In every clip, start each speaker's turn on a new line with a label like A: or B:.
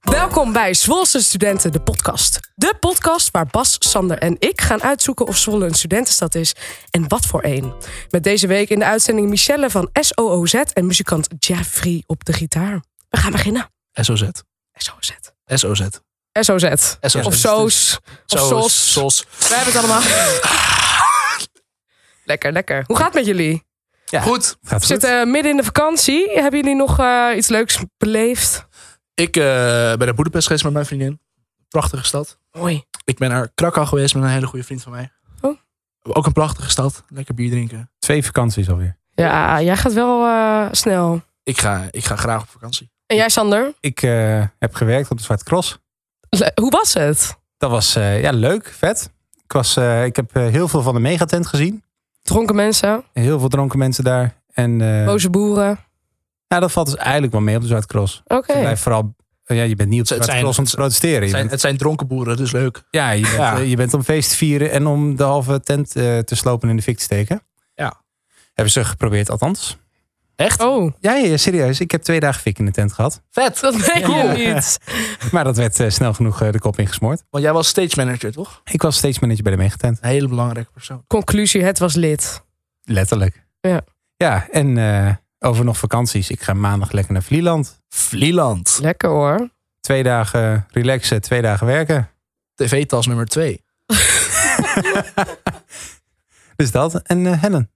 A: Welkom bij Zwolse Studenten, de podcast. De podcast waar Bas, Sander en ik gaan uitzoeken of Zwolle een studentenstad is en wat voor een. Met deze week in de uitzending Michelle van SOOZ en muzikant Jeffrey op de gitaar. We gaan beginnen.
B: SOZ.
A: SOZ.
B: SOZ.
A: SOZ.
B: SOZ.
A: Of SOS. Of SOS.
B: SOS.
A: We hebben het allemaal. Lekker, lekker. Hoe gaat het met jullie?
B: Goed.
A: We zitten midden in de vakantie. Hebben jullie nog eh, iets leuks beleefd?
B: Ik eh, ben naar Boedapest geweest met mijn vriendin. Prachtige stad.
A: Mooi.
B: Ik ben naar Krakau geweest met een hele goede vriend van mij.
A: Oh.
B: Ook een prachtige stad. Lekker bier drinken.
C: Twee vakanties alweer.
A: Ja, jij gaat wel eh, snel.
B: Ik ga, ik ga graag op vakantie.
A: En jij, Sander?
C: Ik eh, heb gewerkt op de Zwarte Cross.
A: Le- Hoe was het?
C: Dat was eh, ja, leuk, vet. Ik, was, eh, ik heb eh, heel veel van de megatent gezien.
A: Dronken mensen,
C: Heel veel dronken mensen daar. En eh,
A: boze boeren.
C: nou, dat valt dus eigenlijk wel mee op de Zwarte Cross.
A: Oké.
C: Je blijft vooral, eh, ja, je bent niet op de
B: Het
C: Zwarte
B: zijn-
C: Cross om te protesteren.
B: Het
C: Je
B: zijn,
C: bent-
B: het zijn dronken boeren, dus leuk.
C: ja, je bent,
B: Ja.
C: eh, je bent om feest te vieren en om de halve tent eh, te slopen en in de fik te steken.
B: Ja.
C: Hebben ze geprobeerd althans.
B: Echt?
A: Oh,
C: Ja, ja, ja, serieus. Ik heb twee dagen fik in de tent gehad.
B: Vet.
A: dat weet je
B: Cool.
A: niet.
C: Maar dat werd eh, snel genoeg eh, de kop ingesmoord.
B: Want jij was stage manager, toch?
C: Ik was steeds manager bij de megatent.
B: Een hele belangrijke persoon.
A: Conclusie, het was lid.
C: Letterlijk.
A: Ja.
C: Ja, en eh, over nog vakanties. Ik ga maandag lekker naar Vlieland.
B: Vlieland.
A: Lekker hoor.
C: Twee dagen relaxen, twee dagen werken.
B: TV-tas nummer 2.
C: Dus dat. En eh, Helen.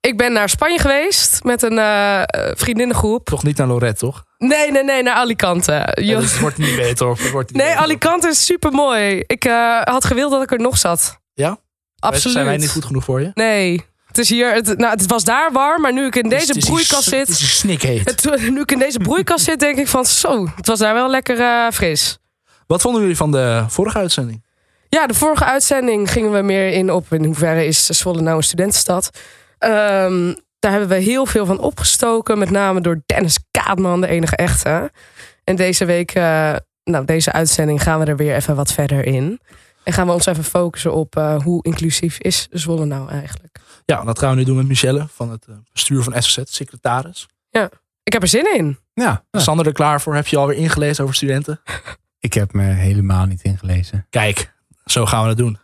A: Ik ben naar Spanje geweest met een eh, eh, vriendinnengroep.
B: Toch niet naar Lorette, toch?
A: Nee, nee, nee, naar Alicante.
B: Ja,
A: Jo-
B: dus het wordt niet beter. Of het wordt niet
A: Nee,
B: beter.
A: Alicante is super mooi. Ik eh, had gewild dat ik er nog zat.
B: Ja?
A: Absoluut.
B: Zijn wij niet goed genoeg voor je?
A: Nee. Het is hier, het, nou, het was daar warm, maar nu ik in deze
B: Het is- het is-
A: broeikas
B: Het is
A: zit.
B: snikheet.
A: het- nu ik in deze broeikas zit, denk ik van zo, het was daar wel lekker eh, fris.
B: Wat vonden jullie van de vorige uitzending?
A: Ja, de vorige uitzending gingen we meer in op in hoeverre is Zwolle nou een studentenstad. Ehm, daar hebben we heel veel van opgestoken, met name door Dennis Kaatman, de enige echte. En deze week, eh, nou deze uitzending, gaan we er weer even wat verder in. En gaan we ons even focussen op eh, hoe inclusief is Zwolle nou eigenlijk.
B: Ja, dat gaan we nu doen met Michelle van het eh, bestuur van SZ, secretaris.
A: Ik heb er zin in.
C: Ja, nou,
B: Sander er klaar voor, heb je alweer ingelezen over studenten?
C: ik heb me helemaal niet ingelezen.
B: Kijk, zo gaan we dat doen.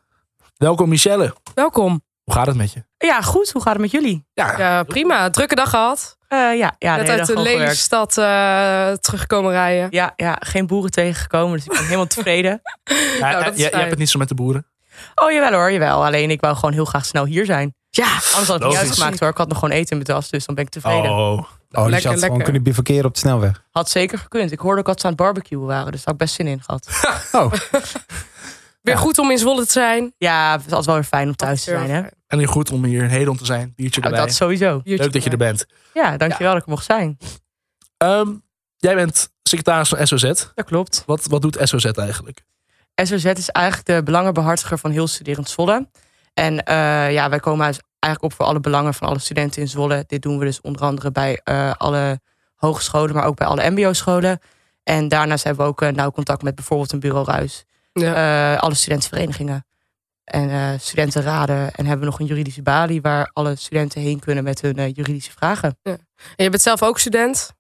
B: Welkom Michelle,
A: Welkom.
B: hoe gaat het met je?
D: Ja, goed. Hoe gaat het met jullie?
B: Ja,
A: Ja, prima. Drukke dag gehad.
D: Eh, ja, ja,
A: Net
D: hele
A: uit de
D: dag gewoon gewerkt.
A: Lelystad eh, teruggekomen rijden.
D: Ja, ja, geen boeren tegengekomen, dus ik ben helemaal tevreden.
B: ja,
A: nou, dat is
B: eh, je, je
A: fijn.
B: hebt het niet zo met de boeren.
D: Oh, jawel hoor, jawel. Alleen ik wou gewoon heel graag snel hier zijn.
A: Ja,
D: Anders had het niet
B: Logisch.
D: uitgemaakt hoor. Ik had nog gewoon eten in mijn tas, dus dan ben ik tevreden.
B: Oh,
C: Oh, dus je had
A: lekker.
C: gewoon kunnen bivakeren op de snelweg.
D: Had zeker gekund. Ik hoorde ook dat ze aan het barbecuen waren, dus daar had ik best zin in gehad.
C: Oh,
A: weer goed om in Zwolle te zijn.
D: Ja, het is altijd wel weer fijn om thuis te zijn, hè?
B: en heel goed om hier in Hedon te zijn, biertje
D: Nou,
B: erbij.
D: dat sowieso.
B: Leuk dat je er bent.
D: Ja, dankjewel dat ik er mocht zijn.
B: Ehm, jij bent secretaris van SOZ.
D: Dat klopt.
B: Wat, wat doet SOZ eigenlijk?
D: SOZ is eigenlijk de belangenbehartiger van heel Studerend Zwolle. En eh, ja, wij komen uit- eigenlijk op voor alle belangen van alle studenten in Zwolle. Dit doen we dus onder andere bij eh, alle hogescholen, maar ook bij alle mbo-scholen. En daarnaast hebben we ook eh, nauw contact met bijvoorbeeld een bureau Ruis.
A: Ja.
D: eh, alle studentenverenigingen en eh, studentenraden. En hebben we nog een juridische balie waar alle studenten heen kunnen met hun eh, juridische vragen.
A: En je bent zelf ook student?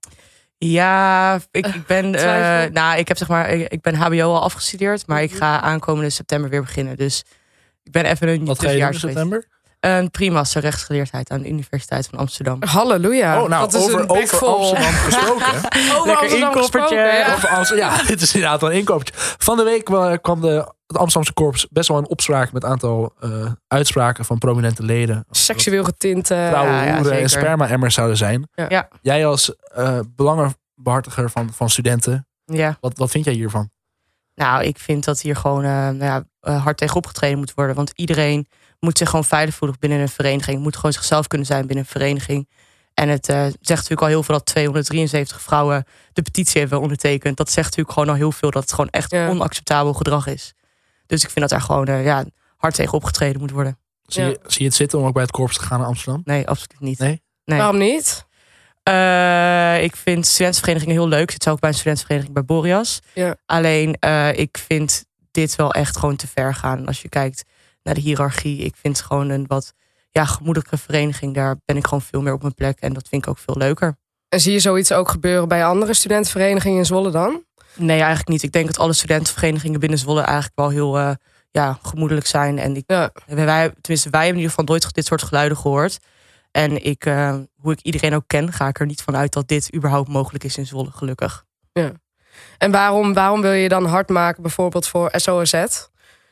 D: Ja, ik, ik ben. eh,
A: twijfel.
D: nou, ik heb zeg maar. Ik, ik ben HBO al afgestudeerd. Maar ik ga aankomende september weer beginnen. Dus ik ben even een
B: Wat ga je doen in
D: tussenjaars geweest.
B: september?
D: Een primaster rechtsgeleerdheid aan de Universiteit van Amsterdam.
A: Halleluja.
B: oh, nou,
A: dat is
B: over,
A: een bek
B: over
A: vol. Oh,
B: Amsterdam gesproken.
A: Over
D: Lekker
A: Amsterdam
D: inkoppertje.
A: gesproken, ja.
B: Of als, ja, dit is inderdaad wel een inkoppertje. Van de week eh, kwam de, het Amsterdamse korps best wel een opspraak met een aantal eh, uitspraken van prominente leden.
A: Seksueel getint. eh,
B: Vrouwen,
D: ja, ja,
B: hoeren en
D: zeker.
B: sperma-emmers zouden zijn.
A: Ja.
D: Ja.
B: Jij als eh, belangenbehartiger van, van studenten,
D: Ja.
B: wat, wat vind jij hiervan?
D: Nou, ik vind dat hier gewoon eh, nou ja, eh, hard tegen opgetreden moet worden. Want iedereen moet zich gewoon veilig voelen binnen een vereniging. Moet gewoon zichzelf kunnen zijn binnen een vereniging. En het eh, zegt natuurlijk al heel veel dat 273 vrouwen de petitie hebben ondertekend. Dat zegt natuurlijk gewoon al heel veel dat het gewoon echt
A: Ja.
D: onacceptabel gedrag is. Dus ik vind dat daar gewoon eh, ja, hard tegen opgetreden moet worden.
B: Zie,
A: Ja.
B: je, zie je het zitten om ook bij het korps te gaan naar Amsterdam?
D: Nee, absoluut niet.
B: Nee?
D: Nee.
A: Waarom niet?
D: Eh, ik vind studentenverenigingen heel leuk. Ik zit zelf ook bij een studentenvereniging bij Boreas.
A: Ja.
D: Alleen, eh, ik vind dit wel echt gewoon te ver gaan. Als je kijkt naar de hiërarchie. Ik vind het gewoon een wat ja, gemoedelijke vereniging. Daar ben ik gewoon veel meer op mijn plek. En dat vind ik ook veel leuker.
A: En zie je zoiets ook gebeuren bij andere studentenverenigingen in Zwolle dan?
D: Nee, eigenlijk niet. Ik denk dat alle studentenverenigingen binnen Zwolle eigenlijk wel heel eh, ja, gemoedelijk zijn. En ik,
A: Ja.
D: wij, tenminste, wij hebben in ieder geval nooit dit soort geluiden gehoord. En ik, eh, hoe ik iedereen ook ken, ga ik er niet van uit dat dit überhaupt mogelijk is in Zwolle, gelukkig.
A: En waarom, waarom wil je dan hard maken bijvoorbeeld voor SOZ?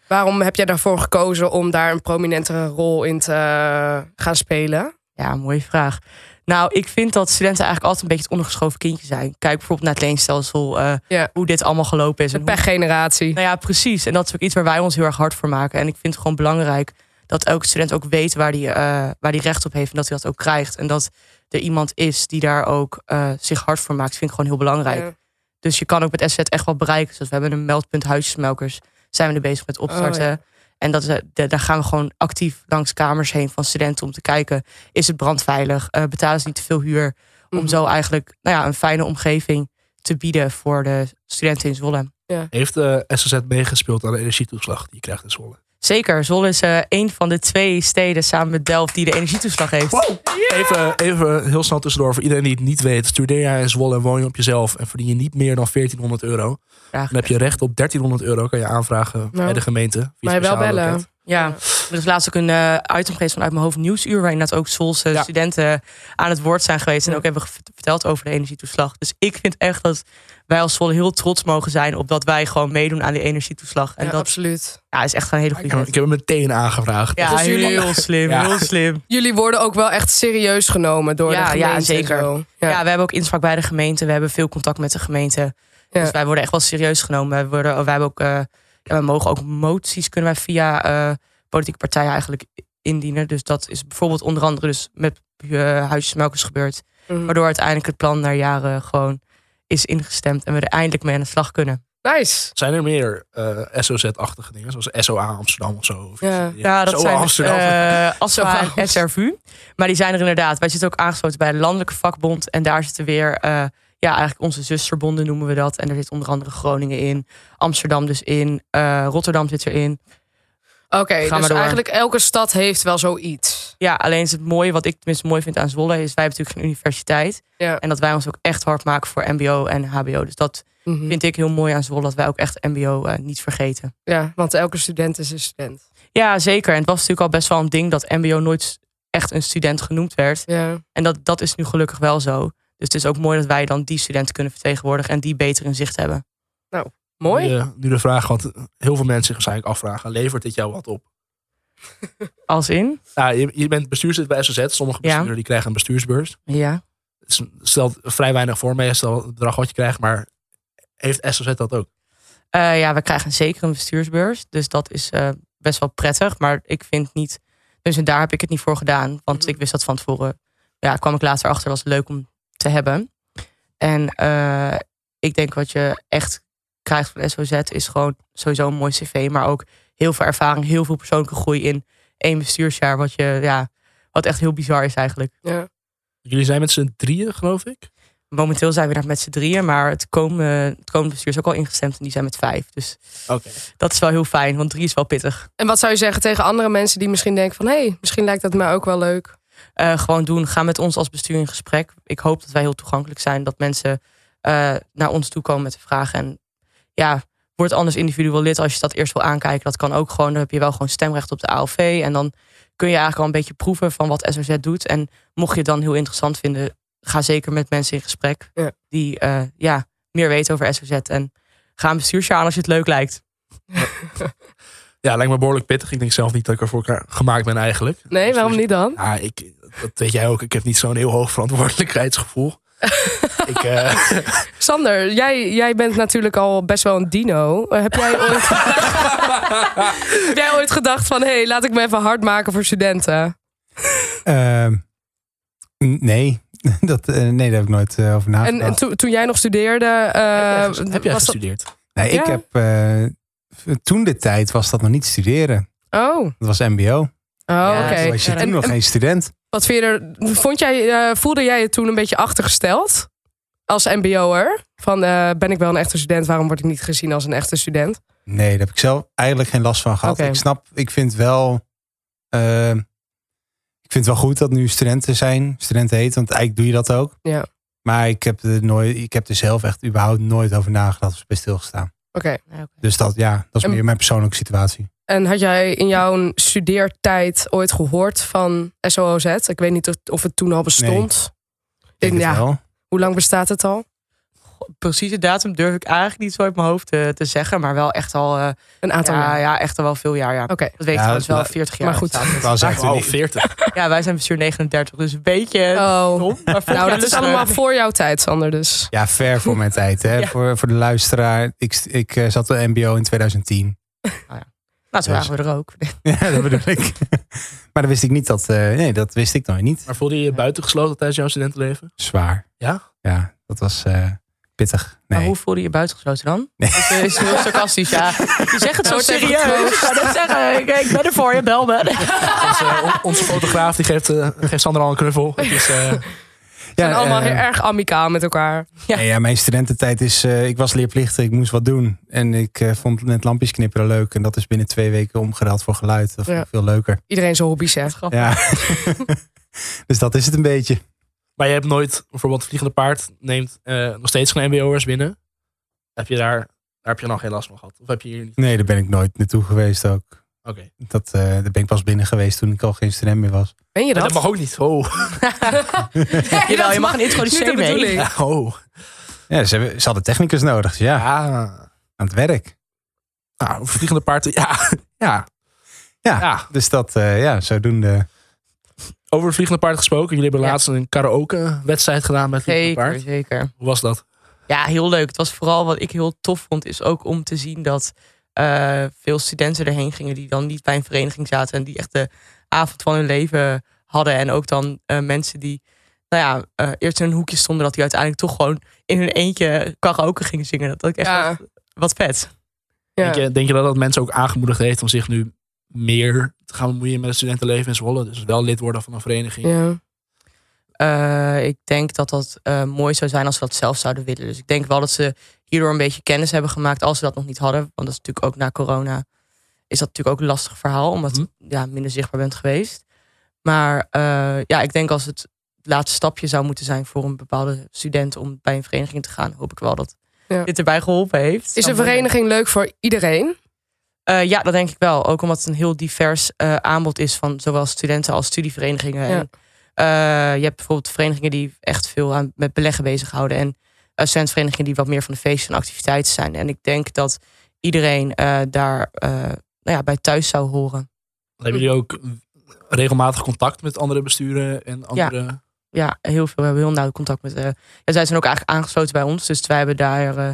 A: Waarom heb jij daarvoor gekozen om daar een prominentere rol in te eh, gaan spelen?
D: Ja, mooie vraag. Nou, ik vind dat studenten eigenlijk altijd een beetje het ondergeschoven kindje zijn. Kijk bijvoorbeeld naar het leenstelsel, eh,
A: Ja.
D: hoe dit allemaal gelopen is.
A: De
D: en hoe-
A: pechgeneratie.
D: Nou ja, precies. En dat is ook iets waar wij ons heel erg hard voor maken. En ik vind het gewoon belangrijk dat elke student ook weet waar die, eh, waar die recht op heeft en dat hij dat ook krijgt. En dat er iemand is die daar ook eh, zich hard voor maakt, vind ik gewoon heel belangrijk.
A: Ja.
D: Dus je kan ook met SZ echt wat bereiken. Zoals we hebben een meldpunt huisjesmelkers, zijn we er bezig met opstarten.
A: Oh, ja.
D: En dat is, eh, da- daar gaan we gewoon actief langs kamers heen van studenten om te kijken, is het brandveilig? Eh, betalen ze niet te veel huur? Om
A: Mhm.
D: zo eigenlijk nou ja, een fijne omgeving te bieden voor de studenten in Zwolle.
B: Heeft eh, SSZ meegespeeld aan de energietoeslag die je krijgt in Zwolle?
D: Zeker, Zwolle is eh, een van de twee steden samen met Delft die de energietoeslag heeft.
B: Wow! Even, even heel snel tussendoor. Voor iedereen die het niet weet. Studeer jij in Zwolle en woon je op jezelf. En verdien je niet meer dan 1400 euro.
D: Graag.
B: Dan heb je recht op 1300 euro. Kan je aanvragen bij de gemeente. via
A: Maar wel
B: speciale
A: bellen.
B: loket.
D: Ja, er is laatst ook een eh, item geweest vanuit mijn hoofd Nieuwsuur... waarin dat ook Zwolse
B: Ja.
D: studenten aan het woord zijn geweest... en
A: Ja.
D: ook hebben ge- verteld over de energietoeslag. Dus ik vind echt dat wij als Zwolle heel trots mogen zijn... op dat wij gewoon meedoen aan die energietoeslag. En
A: Ja,
D: dat
A: absoluut.
D: ja, is echt gewoon een hele
B: Ik
D: goede
B: heb,
D: wet.
B: ik heb hem meteen aangevraagd.
D: Ja,
A: Dus jullie-
D: heel slim,
B: Ja.
D: heel slim.
A: Jullie worden ook wel echt serieus genomen door
D: Ja,
A: de
D: ja,
A: gemeente. en
D: zeker.
A: zo.
D: Ja.
A: Ja.
D: we hebben ook inspraak bij de gemeente. We hebben veel contact met de gemeente.
A: Ja.
D: Dus wij worden echt wel serieus genomen. Wij, worden, wij hebben ook, eh, ja, we mogen ook moties kunnen wij via eh, politieke partijen eigenlijk indienen. Dus dat is bijvoorbeeld onder andere dus met eh huisjesmelkers gebeurd.
A: Mhm.
D: Waardoor uiteindelijk het plan naar jaren gewoon is ingestemd. En we er eindelijk mee aan de slag kunnen.
A: Nice.
B: Zijn er meer eh, SOZ-achtige dingen? Zoals SOA Amsterdam of zo? Of
A: Ja.
B: iets- eh,
D: Ja, dat
B: SOA
D: zijn dus,
B: Amsterdam.
D: eh ASFA
A: Zo
D: en SRVU. Maar die zijn er inderdaad. Wij zitten ook aangesloten bij de Landelijke Vakbond. En daar zitten weer, eh, ja, eigenlijk onze zusterbonden noemen we dat. En daar zit onder andere Groningen in, Amsterdam dus in, eh, Rotterdam zit erin.
A: Oké,
D: maar
A: dus
D: door.
A: eigenlijk elke stad heeft wel zoiets.
D: Ja, alleen is het mooie, wat ik tenminste mooi vind aan Zwolle, is wij hebben natuurlijk geen universiteit.
A: Ja.
D: En dat wij ons ook echt hard maken voor MBO en HBO. Dus dat
A: Mhm.
D: vind ik heel mooi aan Zwolle, dat wij ook echt MBO eh, niet vergeten.
A: Ja, want elke student is een student.
D: Ja, zeker. En het was natuurlijk al best wel een ding dat MBO nooit echt een student genoemd werd.
A: Ja.
D: En dat, dat is nu gelukkig wel zo. Dus het is ook mooi dat wij dan die studenten kunnen vertegenwoordigen en die beter in zicht hebben.
A: Mooi.
B: Nu, eh, nu de vraag, want heel veel mensen zich waarschijnlijk afvragen. Levert dit jou wat op?
D: Als in?
B: Nou, je, je bent bestuurslid bij SOZ. Sommige
D: Ja.
B: bestuurders die krijgen een bestuursbeurs.
D: Ja.
B: Het is- stelt vrij weinig voor meestal het bedrag wat je krijgt. Maar heeft SOZ dat ook?
D: Eh, ja, we krijgen zeker een bestuursbeurs. Dus dat is eh, best wel prettig. Maar ik vind niet. Dus en daar heb ik het niet voor gedaan. Want
A: Mhm.
D: ik wist dat van tevoren. Ja, kwam ik later achter. Was leuk om te hebben. En eh, ik denk wat je echt krijgt van SOZ is gewoon sowieso een mooi cv. Maar ook heel veel ervaring, heel veel persoonlijke groei in één bestuursjaar. Wat je ja, wat echt heel bizar is eigenlijk.
A: Ja.
B: Jullie zijn met z'n drieën, geloof ik.
D: Momenteel zijn we daar met z'n drieën, maar het komende, het komende bestuur is ook al ingestemd en die zijn met vijf. Dus
B: Oké.
D: dat is wel heel fijn, want drie is wel pittig.
A: En wat zou je zeggen tegen andere mensen die misschien denken van... hé, hey, misschien lijkt dat mij ook wel leuk.
D: eh, gewoon doen. Ga met ons als bestuur in gesprek. Ik hoop dat wij heel toegankelijk zijn. Dat mensen eh, naar ons toe komen met de vragen. En ja, word anders individueel lid als je dat eerst wil aankijken. Dat kan ook gewoon. Dan heb je wel gewoon stemrecht op de ALV. En dan kun je eigenlijk al een beetje proeven van wat SOZ doet. En mocht je het dan heel interessant vinden, ga zeker met mensen in gesprek
A: Ja.
D: die eh, ja, meer weten over SOZ. En ga een bestuursjaar aan als je het leuk lijkt.
B: Ja, lijkt me behoorlijk pittig. Ik denk zelf niet dat ik ervoor ka- gemaakt ben eigenlijk.
A: Nee, waarom niet dan?
B: Ja, Ah, ik, dat weet jij ook. Ik heb niet zo'n heel hoog verantwoordelijkheidsgevoel. ik, eh,
A: Sander, jij, jij bent natuurlijk al best wel een dino. Eh, heb, jij ooit... heb jij ooit gedacht van... hé, hey, laat ik me even hard maken voor studenten?
C: Ehm, n- nee. Dat, eh, nee, daar heb ik nooit eh, over
A: en en
C: nagedacht.
A: toen- toen jij nog studeerde...
B: heb jij
A: eh
B: ges- heb jij
A: was dat-
B: gestudeerd?
C: nee, ik
A: ja.
C: heb, eh, toen de tijd was dat nog niet studeren.
A: Oh, oh
C: Dat was mbo.
A: oké.
C: Toen was je
D: Ja,
C: toen
A: en-
C: nog
A: en-
C: geen student.
A: Wat vind je er- vond jij, eh, voelde jij je toen een beetje achtergesteld? Als mbo'er? Van, eh, ben ik wel een echte student? Waarom word ik niet gezien als een echte student?
C: Nee, daar heb ik zelf eigenlijk geen last van gehad.
A: Oké.
C: Ik snap, ik vind wel. eh, ik vind het wel goed dat nu studenten zijn, studenten heet, want eigenlijk doe je dat ook.
A: Ja.
C: Maar ik heb, er nooit, ik heb er zelf echt überhaupt nooit over nagedacht of bij stilgestaan.
D: Nee, oké.
C: Dus dat, ja, dat is
A: En-
C: meer mijn persoonlijke situatie.
A: En had jij in jouw studeertijd ooit gehoord van SOOZ? Ik weet niet of- of het toen al bestond.
C: Ik denk het
A: ja.
C: wel.
A: Hoe lang bestaat het al?
D: Precieze datum durf ik eigenlijk niet zo uit mijn hoofd eh, te zeggen. Maar wel echt al, eh,
A: Een aantal
D: ja,
A: jaar.
D: ja, echt al wel veel jaar. Ja.
A: Oké.
D: Dat weet
C: Ja,
D: ik trouwens
C: dat-
D: wel, 40 jaar.
A: maar goed.
D: bestaat het.
C: Dat is echt
B: Oh,
C: een-
B: 40.
D: Ja, wij zijn bestuur 39, dus een beetje
A: Oh.
D: dom. Maar volgens
A: Nou,
D: mij
A: dat is allemaal voor jouw tijd, Sander. Dus.
C: Ja, ver voor mijn tijd. Hè.
D: Ja.
C: Voor, voor de luisteraar. Ik, ik eh, zat op de MBO in 2010.
D: Nou, zo waren we er ook.
C: Ja, dat bedoel ik. maar dat wist ik niet. Dat, eh, nee, dat wist ik nog niet.
B: Maar voelde je je buitengesloten tijdens jouw studentenleven?
C: Zwaar.
B: Ja?
C: Ja, dat was eh, pittig.
D: Maar
C: Nee.
D: hoe voelde je je buitengesloten dan?
C: Nee.
D: Dat is, is heel sarcastisch, ja. Je zegt het
A: Nou,
D: zo
A: het is even
D: serieus. Ik
A: getroost.
D: ga dat zeggen. Ik, ik ben er voor je, bel me.
B: Onze, on- onze fotograaf die geeft, eh, geeft Sander al een knuffel. Het is, eh,
A: en allemaal
C: eh,
A: heel erg amicaal met elkaar.
D: Ja.
C: Nee, ja, mijn studententijd is, eh, ik was leerplichtig, ik moest wat doen. En ik eh, vond net lampjes knipperen leuk. En dat is binnen twee weken omgeruild voor geluid. Dat vond
A: Ja.
C: ik veel leuker.
A: Iedereen zijn hobby's heeft.
D: Oh.
C: Ja. dus dat is het een beetje.
B: maar je hebt nooit, bijvoorbeeld Vliegende Paard neemt eh, nog steeds geen MBO'ers binnen. Heb je daar, daar heb je nog geen last van gehad? Of heb je hier niet?
C: Nee, daar ben ik nooit naartoe geweest ook.
B: Oké.
C: Dat, eh, daar ben ik pas binnen geweest toen ik al geen student meer was.
A: Meen je
B: Dat?
A: dat?
B: mag ook niet. Oh.
A: Nee,
D: Jawel,
A: dat
D: je mag een
A: niet de
D: introductie mee.
A: bedoeling.
B: oh.
C: Ja, ze, hebben- ze hadden technicus nodig. Dus ja,
B: Ja.
C: aan het werk.
B: Nou, Vliegende Paard, ja. Ja.
C: Ja.
B: ja.
C: Dus dat, eh, ja, zodoende.
B: Over Vliegende Paard gesproken. Jullie hebben
D: Ja.
B: laatst een karaoke-wedstrijd gedaan met Vliegende
D: Zeker,
B: Paard.
D: zeker.
B: Hoe was dat?
D: Ja, heel leuk. Het was vooral wat ik heel tof vond, is ook om te zien dat eh, veel studenten erheen gingen die dan niet bij een vereniging zaten en die echt de avond van hun leven hadden. En ook dan eh, mensen die, nou ja, eh, eerst in een hoekje stonden, dat die uiteindelijk toch gewoon in hun eentje karaoke gingen zingen. Dat, dat ik echt
A: Ja.
D: dacht, wat vet.
A: Ja.
B: Denk, je, denk je dat dat mensen ook aangemoedigd heeft om zich nu meer te gaan bemoeien met het studentenleven in Zwolle? Dus wel lid worden van een vereniging.
A: Ja.
D: Eh, ik denk dat dat eh, mooi zou zijn als ze dat zelf zouden willen. Dus ik denk wel dat ze hierdoor een beetje kennis hebben gemaakt als ze dat nog niet hadden. Want dat is natuurlijk ook na corona is dat natuurlijk ook een lastig verhaal, omdat je
B: Mhm.
D: ja, minder zichtbaar bent geweest. Maar eh, ja, ik denk als het het laatste stapje zou moeten zijn voor een bepaalde student om bij een vereniging te gaan, hoop ik wel dat
A: Ja.
D: dit erbij geholpen heeft.
A: Is
D: Zou
A: een
D: mooi zijn.
A: vereniging leuk voor iedereen?
D: Eh, ja, dat denk ik wel. Ook omdat het een heel divers eh, aanbod is van zowel studenten als studieverenigingen.
A: Ja.
D: En, eh, je hebt bijvoorbeeld verenigingen die echt veel aan, met beleggen bezighouden. En eh studentverenigingen die wat meer van de feesten en activiteiten zijn. En ik denk dat iedereen eh, daar eh, nou ja, bij thuis zou horen.
B: Dan hebben jullie ook regelmatig contact met andere besturen en andere...
D: Ja, heel veel. We hebben heel nauw contact met... eh ja, zij zijn ook eigenlijk aangesloten bij ons. Dus wij hebben daar... eh,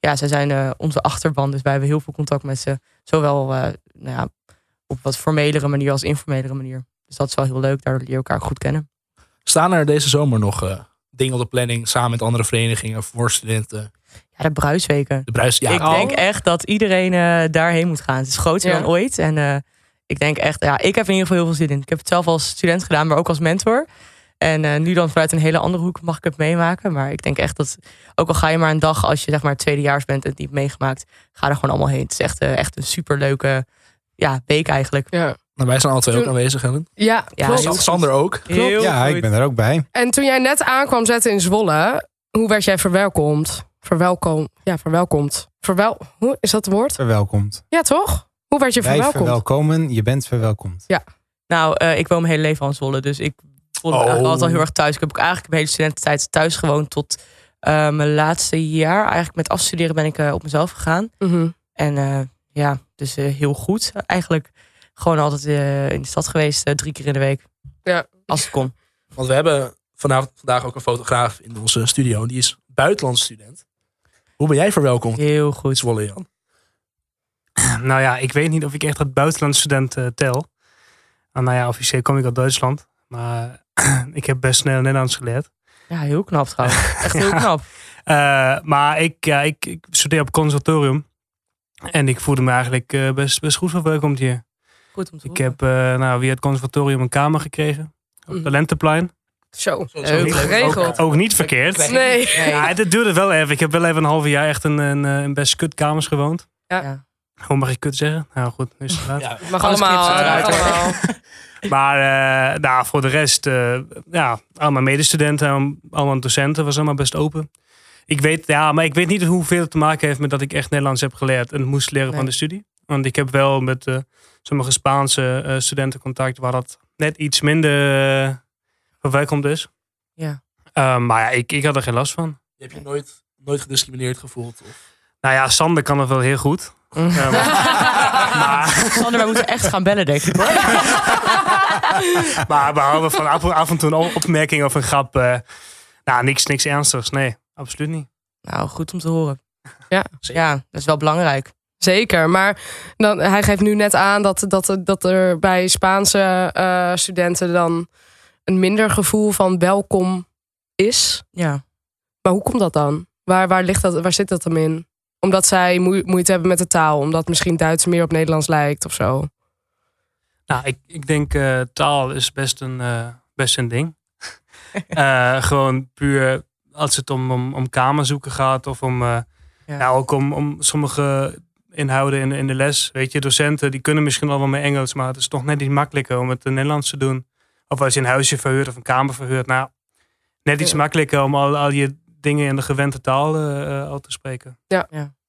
D: ja, zij zijn eh, onze achterban. Dus wij hebben heel veel contact met ze. Zowel eh, nou ja, op wat formelere manier als informelere manier. Dus dat is wel heel leuk. Daar leer je elkaar goed kennen.
B: Staan er deze zomer nog eh, dingen op de planning samen met andere verenigingen voor studenten?
D: Ja, de bruisweken.
B: De bruis, ja,
D: ik
B: al.
D: denk echt dat iedereen eh, daarheen moet gaan. Het is groter
A: Ja.
D: dan ooit. En eh, ik denk echt, ja, ik heb in ieder geval heel veel zin in. Ik heb het zelf als student gedaan, maar ook als mentor. En eh, nu dan vanuit een hele andere hoek mag ik het meemaken. Maar ik denk echt dat, ook al ga je maar een dag als je zeg maar tweedejaars bent en het niet hebt meegemaakt, ga er gewoon allemaal heen. Het is echt, eh, echt een superleuke ja, week eigenlijk.
A: Ja.
B: Nou, wij zijn alle twee ook
A: Toen-
B: aanwezig, Helen.
A: Ja,
D: Ja,
A: klopt.
D: heel
B: Sa- Sander ook.
D: Heel
C: ja,
D: goed.
C: ik ben er ook bij.
A: En toen jij net aankwam zetten in Zwolle, hoe werd jij verwelkomd? Verwelkom, ja, verwelkomd. Verwel, hoe is dat het woord?
C: Verwelkomd.
A: Ja, toch? Hoe werd je
C: Wij
A: verwelkomd?
C: verwelkomen, je bent verwelkomd.
D: Nou, eh, ik woon mijn hele leven al in Zwolle. Dus ik voelde me
B: Oh.
D: eigenlijk altijd al heel erg thuis. Ik heb ook eigenlijk mijn hele studententijd thuis gewoond tot eh, mijn laatste jaar. Eigenlijk met afstuderen ben ik eh, op mezelf gegaan.
A: Mhm.
D: En eh, ja, dus eh, heel goed. Eigenlijk gewoon altijd eh, in de stad geweest, eh, drie keer in de week.
A: Ja.
D: Als het kon.
B: Want we hebben vanavond, vandaag ook een fotograaf in onze studio. Die is buitenlands student. Hoe ben jij verwelkomd
D: Heel
B: in
D: goed.
B: Zwolle, Jan?
E: Nou ja, ik weet niet of ik echt uit buitenlandsstudent eh, tel. Nou, nou ja, officieel kom ik uit Duitsland. Maar ik heb best snel Nederlands geleerd.
D: Ja, heel knap trouwens. Echt heel
E: Ja.
D: knap.
E: Eh, maar ik, ja, ik, ik studeer op conservatorium. En ik voelde me eigenlijk eh, best, best goed verwelkomd hier.
D: Goed om te
E: Ik
D: horen.
E: heb eh, nou, via het conservatorium een kamer gekregen. Op
A: Mhm.
E: Talentenplein.
A: Zo.
D: Heel
E: Ook-
A: geregeld.
E: Ook niet verkeerd.
B: Nee.
A: Nee.
D: Nee.
E: Ja, het, het duurde wel even. Ik heb wel even een half jaar echt in, in, eh, in best kut kamers gewoond.
A: Ja.
D: Ja.
E: Hoe mag ik kut zeggen? Nou goed, nu is het laat.
B: Ja,
A: Mag
D: Alles
A: allemaal.
D: knipt
E: eruit,
A: mag
D: hoor.
A: allemaal.
E: Maar eh, nou, voor de rest, eh, ja, allemaal medestudenten, allemaal- allemaal docenten, was allemaal best open. Ik weet, ja, maar ik weet niet hoeveel het te maken heeft met dat ik echt Nederlands heb geleerd en moest leren
D: Nee.
E: van de studie. Want ik heb wel met eh, sommige Spaanse eh, studenten contact waar dat net iets minder uh, verwelkomd is.
D: Ja.
E: Eh, maar ja, ik, ik had er geen last van.
B: Je hebt je nooit, nooit gediscrimineerd gevoeld. Of...
E: Nou ja, Sander kan het wel heel goed. Ja, maar-
D: Sander, wij moeten echt gaan bellen, denk ik. hoor.
E: Maar behalve van af, af en toe een opmerking of een grap. eh, nou, niks, niks ernstigs. Nee, absoluut niet.
D: Nou, goed om te horen.
A: Ja.
D: ja dat is wel belangrijk.
A: Zeker, maar dan, hij geeft nu net aan dat, dat, dat er bij Spaanse eh, studenten dan een minder gevoel van welkom is.
D: Ja.
A: Maar hoe komt dat dan? Waar, waar, ligt dat, waar zit dat dan in? Omdat zij moe- moeite hebben met de taal, omdat misschien Duits meer op Nederlands lijkt of zo.
E: Nou, ik, ik denk eh, taal is best een, eh, best een ding. Eh, gewoon puur als het om, om, om kamer zoeken gaat of om, eh,
D: Ja.
E: nou, ook om, om sommige inhouden in, de- in de les. Weet je, docenten die kunnen misschien al wel met Engels, maar het is toch net iets makkelijker om het in Nederlands te doen. Of als je een huisje verhuurt of een kamer verhuurt. Nou, net iets
A: Ja.
E: makkelijker om al, al je dingen in de gewente taal eh, eh, al te spreken.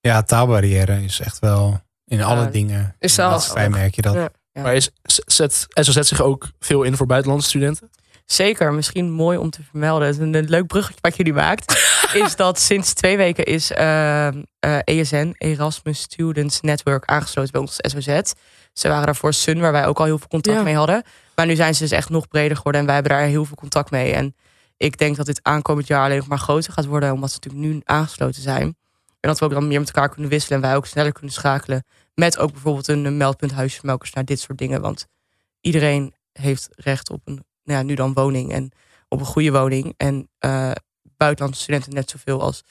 C: Ja, taalbarrière is echt wel in alle
D: Ja,
C: dingen.
A: is zelfs-
C: Wij merk je dat.
A: Ja.
D: Ja.
B: Maar is, zet SOZ zich ook veel in voor buitenlandse studenten?
D: Zeker, misschien mooi om te vermelden. Het is een, een leuk bruggetje wat jullie maakt. is dat sinds twee weken is eh, eh, ESN, Erasmus Students Network, aangesloten bij ons SOZ. Ze waren daarvoor Sun, waar wij ook al heel veel contact
A: Ja.
D: mee hadden. Maar nu zijn ze dus echt nog breder geworden en wij hebben daar heel veel contact mee. En ik denk dat dit aankomend jaar alleen nog maar groter gaat worden, omdat ze natuurlijk nu aangesloten zijn. En dat we ook dan meer met elkaar kunnen wisselen en wij ook sneller kunnen schakelen. Met ook bijvoorbeeld een eh, meldpunt huisjesmelkers naar dit soort dingen. Want iedereen heeft recht op een, nou ja, nu dan woning en op een goede woning. En eh, buitenlandse studenten net zoveel als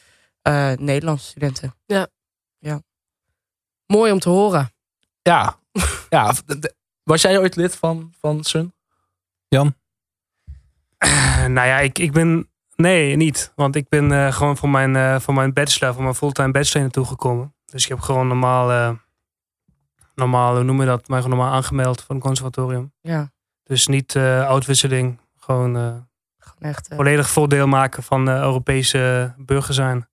D: eh, Nederlandse studenten.
A: Mooi om te horen.
B: Ja. ja. de- de- Was jij ooit lid van, van Sun?
E: Nou ja, ik, ik ben. Nee, niet. Want ik ben eh, gewoon voor mijn, eh, voor mijn bachelor, voor mijn fulltime bachelor naartoe gekomen. Dus ik heb gewoon normaal, eh, normaal, hoe noem je dat? Maar gewoon normaal aangemeld van het conservatorium.
D: Ja,
E: Dus niet eh uitwisseling. Gewoon eh,
D: gewoon echt. eh.
E: volledig voordeel maken van eh, Europese burger zijn.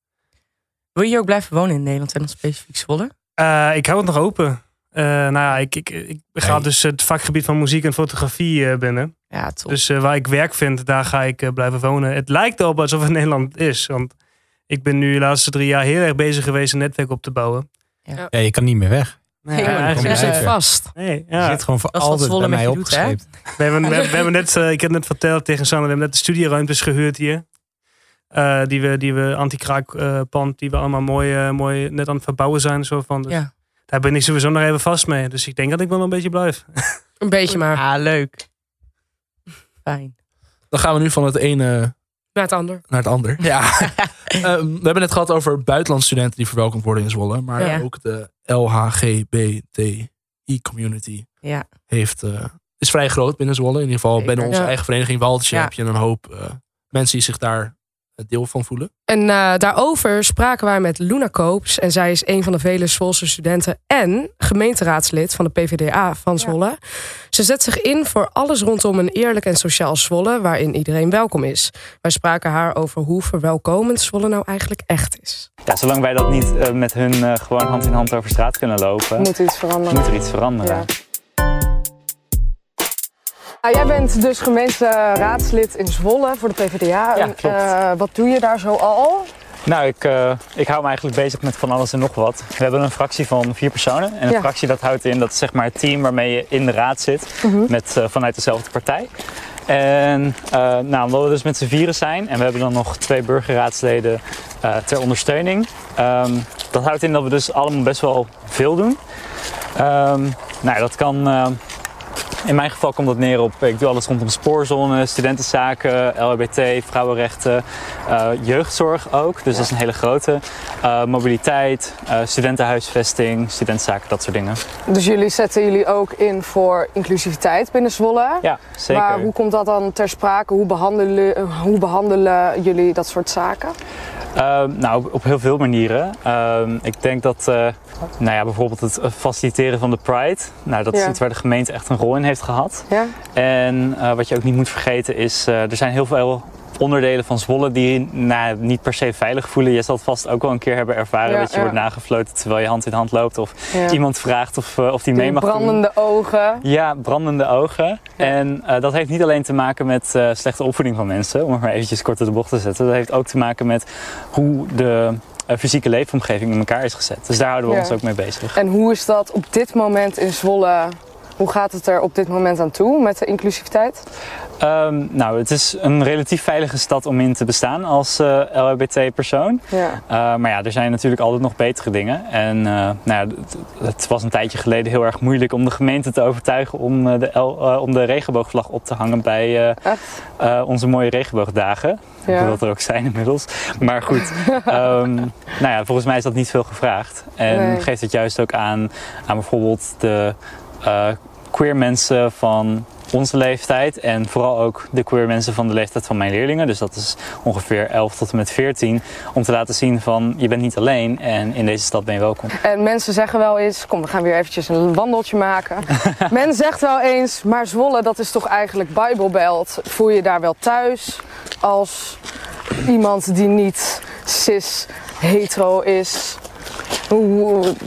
D: Wil je hier ook blijven wonen in Nederland en dan specifiek Zwolle?
E: Eh, ik hou het nog open. Eh, nou ja, ik, ik, ik ga
C: Nee.
E: dus het vakgebied van muziek en fotografie eh, binnen.
D: Ja, top.
E: Dus eh, waar ik werk vind, daar ga ik eh, blijven wonen. Het lijkt erop alsof het Nederland is. Want ik ben nu de laatste drie jaar heel erg bezig geweest een netwerk op te bouwen.
C: Ja, je kan niet meer weg.
E: Nee,
D: Ja,
A: Ze
C: kom
E: eigenlijk
C: je
A: zit
C: zeker.
A: vast.
E: nee,
C: Je
E: ja.
C: zit gewoon voor
D: Dat is wat
C: altijd
D: Zwolle
C: bij
D: met
C: mij
D: je doet, hè?
C: opgeschreven.
E: we hebben, we, we hebben net, eh, ik heb net verteld tegen Sander, we hebben net de studieruimtes gehuurd hier. Eh, die we, die we anti-kraakpand, pand die we allemaal mooi, eh, mooi net aan het verbouwen zijn. en Zo van. Dus
D: Ja.
E: Daar ben ik sowieso nog even vast mee. Dus ik denk dat ik wel een beetje blijf.
A: Een beetje maar.
D: Ah, leuk. Fijn.
B: Dan gaan we nu van het ene
A: Naar het ander.
B: naar het ander. Ja. Ehm, we hebben het gehad over buitenlandse studenten die verwelkomd worden in Zwolle. Maar
D: Ja.
B: ook de LHGBTI-community
D: Ja.
B: heeft, eh, is vrij groot binnen Zwolle. In ieder geval
D: Zeker.
B: binnen onze
A: Ja.
B: eigen vereniging Waltje
D: Ja.
B: heb je een hoop eh, mensen die zich daar eh, deel van voelen.
A: En eh, daarover spraken wij met Luna Koops. En zij is een van de vele Zwolse studenten en gemeenteraadslid van de PvdA van Zwolle. Ze zet zich in voor alles rondom een eerlijk en sociaal Zwolle waarin iedereen welkom is. Wij spraken haar over hoe verwelkomend Zwolle nou eigenlijk echt is.
F: Ja, zolang wij dat niet eh, met hun eh, gewoon hand in hand over straat kunnen lopen, moet,
G: Moet iets veranderen.
F: er iets veranderen.
G: Ja.
A: Nou,
G: Ah, jij bent dus gemeenteraadslid in Zwolle voor de PvdA.
F: Ja, klopt.
G: Eh, wat doe je daar zo al?
F: Nou, ik, eh, ik hou me eigenlijk bezig met van alles en nog wat. We hebben een fractie van vier personen. En een
G: Ja.
F: fractie dat houdt in, dat is zeg maar het team waarmee je in de raad zit. Met, eh, vanuit dezelfde partij. En eh, nou, omdat we dus met z'n vieren zijn. En we hebben dan nog twee burgerraadsleden eh, ter ondersteuning. ehm, dat houdt in dat we dus allemaal best wel veel doen. Ehm, nou, dat kan... eh, in mijn geval komt dat neer op, ik doe alles rondom spoorzone, studentenzaken, LHBT, vrouwenrechten, eh, jeugdzorg ook. Dus dat is een hele grote. Eh, mobiliteit, eh, studentenhuisvesting, studentenzaken, dat soort dingen.
G: Dus jullie zetten jullie ook in voor inclusiviteit binnen Zwolle.
F: Ja, zeker.
A: eh,
G: Maar hoe komt dat dan ter sprake? Hoe behandelen, hoe behandelen jullie dat soort zaken?
F: Ehm, nou, op, op heel veel manieren. Ehm, ik denk dat eh, nou ja, bijvoorbeeld het eh, faciliteren van de Pride. Nou, dat is
A: Ja.
F: iets waar de gemeente echt een rol in heeft gehad.
A: Ja?
F: En eh, wat je ook niet moet vergeten is, eh, er zijn heel veel onderdelen van Zwolle die nou, niet per se veilig voelen. Je zal het vast ook wel een keer hebben ervaren
A: Ja,
F: dat je
A: ja.
F: wordt nagefloten terwijl je hand in hand loopt. Of
A: ja.
F: iemand vraagt of, eh, of die mee
A: Die
F: mag doen.
A: brandende ogen.
F: Ja, brandende ogen. En eh, dat heeft niet alleen te maken met eh, slechte opvoeding van mensen, om het maar eventjes kort door de bocht te zetten. Dat heeft ook te maken met hoe de eh, fysieke leefomgeving in elkaar is gezet. Dus daar houden we
A: Ja.
F: ons ook mee bezig.
A: En hoe is dat op dit moment in Zwolle? Hoe gaat het er op dit moment aan toe met de inclusiviteit?
F: Ehm, nou, het is een relatief veilige stad om in te bestaan als eh, LHBT-persoon.
A: Ja.
F: Uh, maar ja, er zijn natuurlijk altijd nog betere dingen. En eh, nou ja, het, het was een tijdje geleden heel erg moeilijk om de gemeente te overtuigen om, eh, de, L- eh, om de regenboogvlag op te hangen bij eh,
A: Echt?
F: eh, onze mooie regenboogdagen.
A: Ja.
F: Hoewel er ook zijn inmiddels. Maar goed, ehm, nou ja, volgens mij is dat niet veel gevraagd. En
A: Nee.
F: geeft het juist ook aan, aan bijvoorbeeld de eh, queer mensen van onze leeftijd. En vooral ook de queer mensen van de leeftijd van mijn leerlingen. Dus dat is ongeveer 11 tot en met 14. Om te laten zien van, je bent niet alleen en in deze stad ben je welkom.
A: En mensen zeggen wel eens, kom we gaan weer eventjes een wandeltje maken. Men zegt wel eens, maar Zwolle dat is toch eigenlijk Bijbelbelt. Voel je daar wel thuis als iemand die niet cis hetero is? Hoe,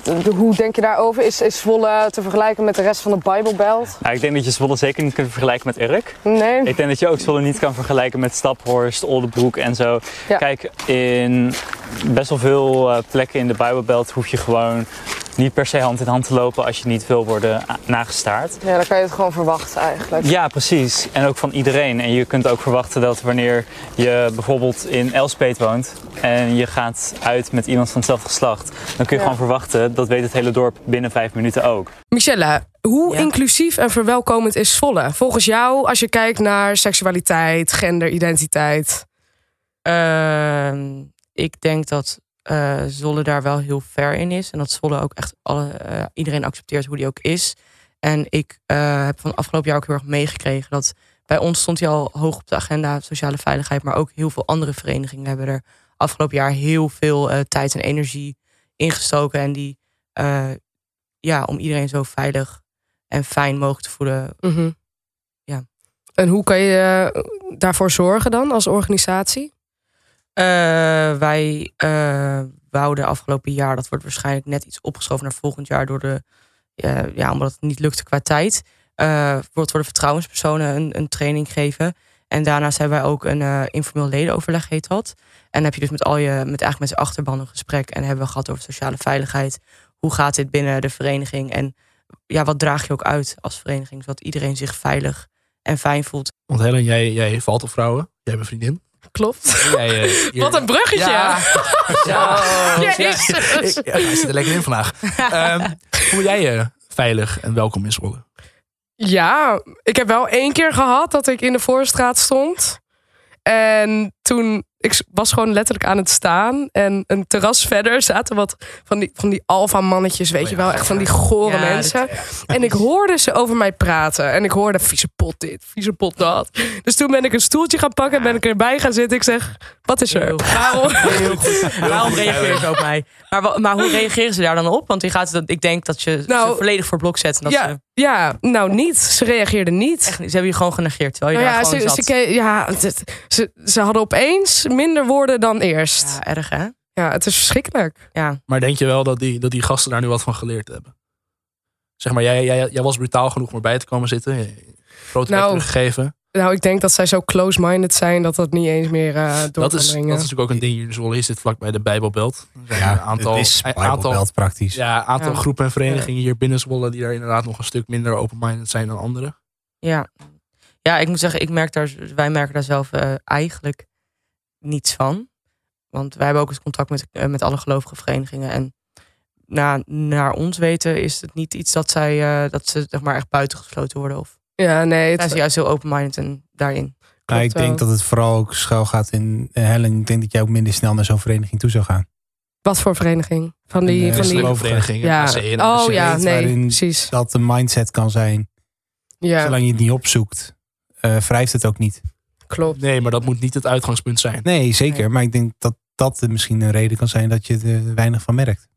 A: hoe- hoe denk je daarover? Is, is Zwolle te vergelijken met de rest van de Bijbelbelt?
F: Nou, ik denk dat je Zwolle zeker niet kunt vergelijken met Urk.
A: Nee?
F: Ik denk dat je ook Zwolle niet kan vergelijken met Staphorst, Oldenbroek en zo.
A: Ja.
F: Kijk, in best wel veel eh, plekken in de Bijbelbelt hoef je gewoon niet per se hand in hand te lopen als je niet wil worden a- nagestaard.
A: Ja, dan kan je het gewoon verwachten eigenlijk.
F: Ja, precies. En ook van iedereen. En je kunt ook verwachten dat wanneer je bijvoorbeeld in Elspeet woont en je gaat uit met iemand van hetzelfde geslacht, dan kun je
A: Ja.
F: gewoon verwachten, dat weet het hele dorp binnen vijf minuten ook.
H: Michelle, hoe
D: Ja.
H: inclusief en verwelkomend is Zwolle? Volgens jou, als je kijkt naar seksualiteit, genderidentiteit.
D: Ehm, ik denk dat eh, Zwolle daar wel heel ver in is. En dat Zwolle ook echt alle, eh, iedereen accepteert hoe die ook is. En ik eh, heb van afgelopen jaar ook heel erg meegekregen dat bij ons stond hij al hoog op de agenda, sociale veiligheid. Maar ook heel veel andere verenigingen hebben er afgelopen jaar heel veel eh, tijd en energie ingestoken. En die, eh, ja, om iedereen zo veilig en fijn mogelijk te voelen, Ja.
H: En hoe kan je eh, daarvoor zorgen dan als organisatie?
D: Eh, wij eh wouden afgelopen jaar, dat wordt waarschijnlijk net iets opgeschoven naar volgend jaar door de, eh, ja, omdat het niet lukte qua tijd. eh, wordt worden vertrouwenspersonen een, een training geven. En daarnaast hebben wij ook een eh, informeel ledenoverleg heet dat. En dan heb je dus met al je, met eigenlijk met z'n achterban een gesprek. En hebben we gehad over sociale veiligheid. Hoe gaat dit binnen de vereniging? En ja, wat draag je ook uit als vereniging, zodat iedereen zich veilig en fijn voelt.
B: Want Helen, jij, jij valt op vrouwen. Jij bent vriendin.
H: Klopt.
B: Jij, eh, hier-
H: Wat een bruggetje.
B: Ja. Oh, Ja.
H: Jezus.
B: Ja. Ik, ja, hij zit er lekker in vandaag. Ehm, voel jij je veilig en welkom in Zwolle?
H: Ja, ik heb wel één keer gehad dat ik in de voorstraat stond. En toen, ik was gewoon letterlijk aan het staan. En een terras verder zaten wat van die, van die alfa-mannetjes, weet
B: Oh
H: je
B: ja.
H: wel. Echt van die gore
D: Ja, dat-
H: mensen. En ik hoorde ze over mij praten. En ik hoorde, vieze pot dit, vieze pot dat. Dus toen ben ik een stoeltje gaan pakken en ben ik erbij gaan zitten. Ik zeg, wat is er?
D: Heel goed.
H: Waarom?
D: Waarom reageren ze op mij? Maar, wa- maar hoe reageren ze daar dan op? Want die gaat, ik denk dat je
H: Nou,
D: ze volledig voor blok zet. En dat
H: Ja,
D: ze,
H: ja, nou niet. Ze reageerden niet.
D: echt, ze hebben je gewoon genegeerd. Terwijl je
H: Nou
D: daar
H: ja,
D: gewoon
H: ze,
D: zat.
H: ze, ke- ja het- ze, ze hadden opeens minder woorden dan eerst.
D: ja, erg hè?
H: Ja, het is verschrikkelijk.
D: Ja.
B: Maar denk je wel dat die, dat die gasten daar nu wat van geleerd hebben? Zeg maar, jij, jij, jij was brutaal genoeg om erbij te komen zitten. Je- Grote nou,
H: Nou,
B: teruggegeven.
H: Nou, ik denk dat zij zo close-minded zijn dat dat niet eens meer eh door
B: Dat
H: kan
B: is, dat is
H: dringen.
B: natuurlijk ook een ding hier in Zwolle. Je zit vlakbij de Bijbelbelt. Er zijn een aantal,
C: het is
B: een aantal,
C: Bijbelbelt praktisch.
B: ja, een aantal
H: Ja.
B: groepen en verenigingen hier binnen Zwolle... die daar inderdaad nog een stuk minder open-minded zijn dan anderen.
D: Ja. ja, ik moet zeggen, ik merk daar, wij merken daar zelf eh, eigenlijk niets van. Want wij hebben ook eens contact met, eh, met alle gelovige verenigingen. En na, naar ons weten is het niet iets dat, zij, eh, dat ze zeg maar, echt buitengesloten worden. Of
H: Ja, nee. het-
D: zijn ze juist heel open-minded en daarin.
C: Maar Nou, ik
H: klopt wel.
C: denk dat het vooral ook schuil gaat in eh, Helen. Ik denk dat jij ook minder snel naar zo'n vereniging toe zou gaan.
H: Wat voor vereniging? Van
C: Een,
H: die...
C: eh,
H: van die
C: geloof-
B: Christelijke verenigingen.
H: ja.
B: ACN en
H: Oh
B: ACN.
H: ja,
C: weet
H: nee,
C: waarin-
H: precies.
C: Dat de mindset kan zijn,
H: Ja,
C: zolang je het niet opzoekt, eh wrijft het ook niet.
H: klopt.
B: Nee, maar dat moet niet het uitgangspunt zijn.
C: Nee, zeker.
D: Nee.
C: Maar ik denk dat dat misschien een reden kan zijn dat je er weinig van merkt.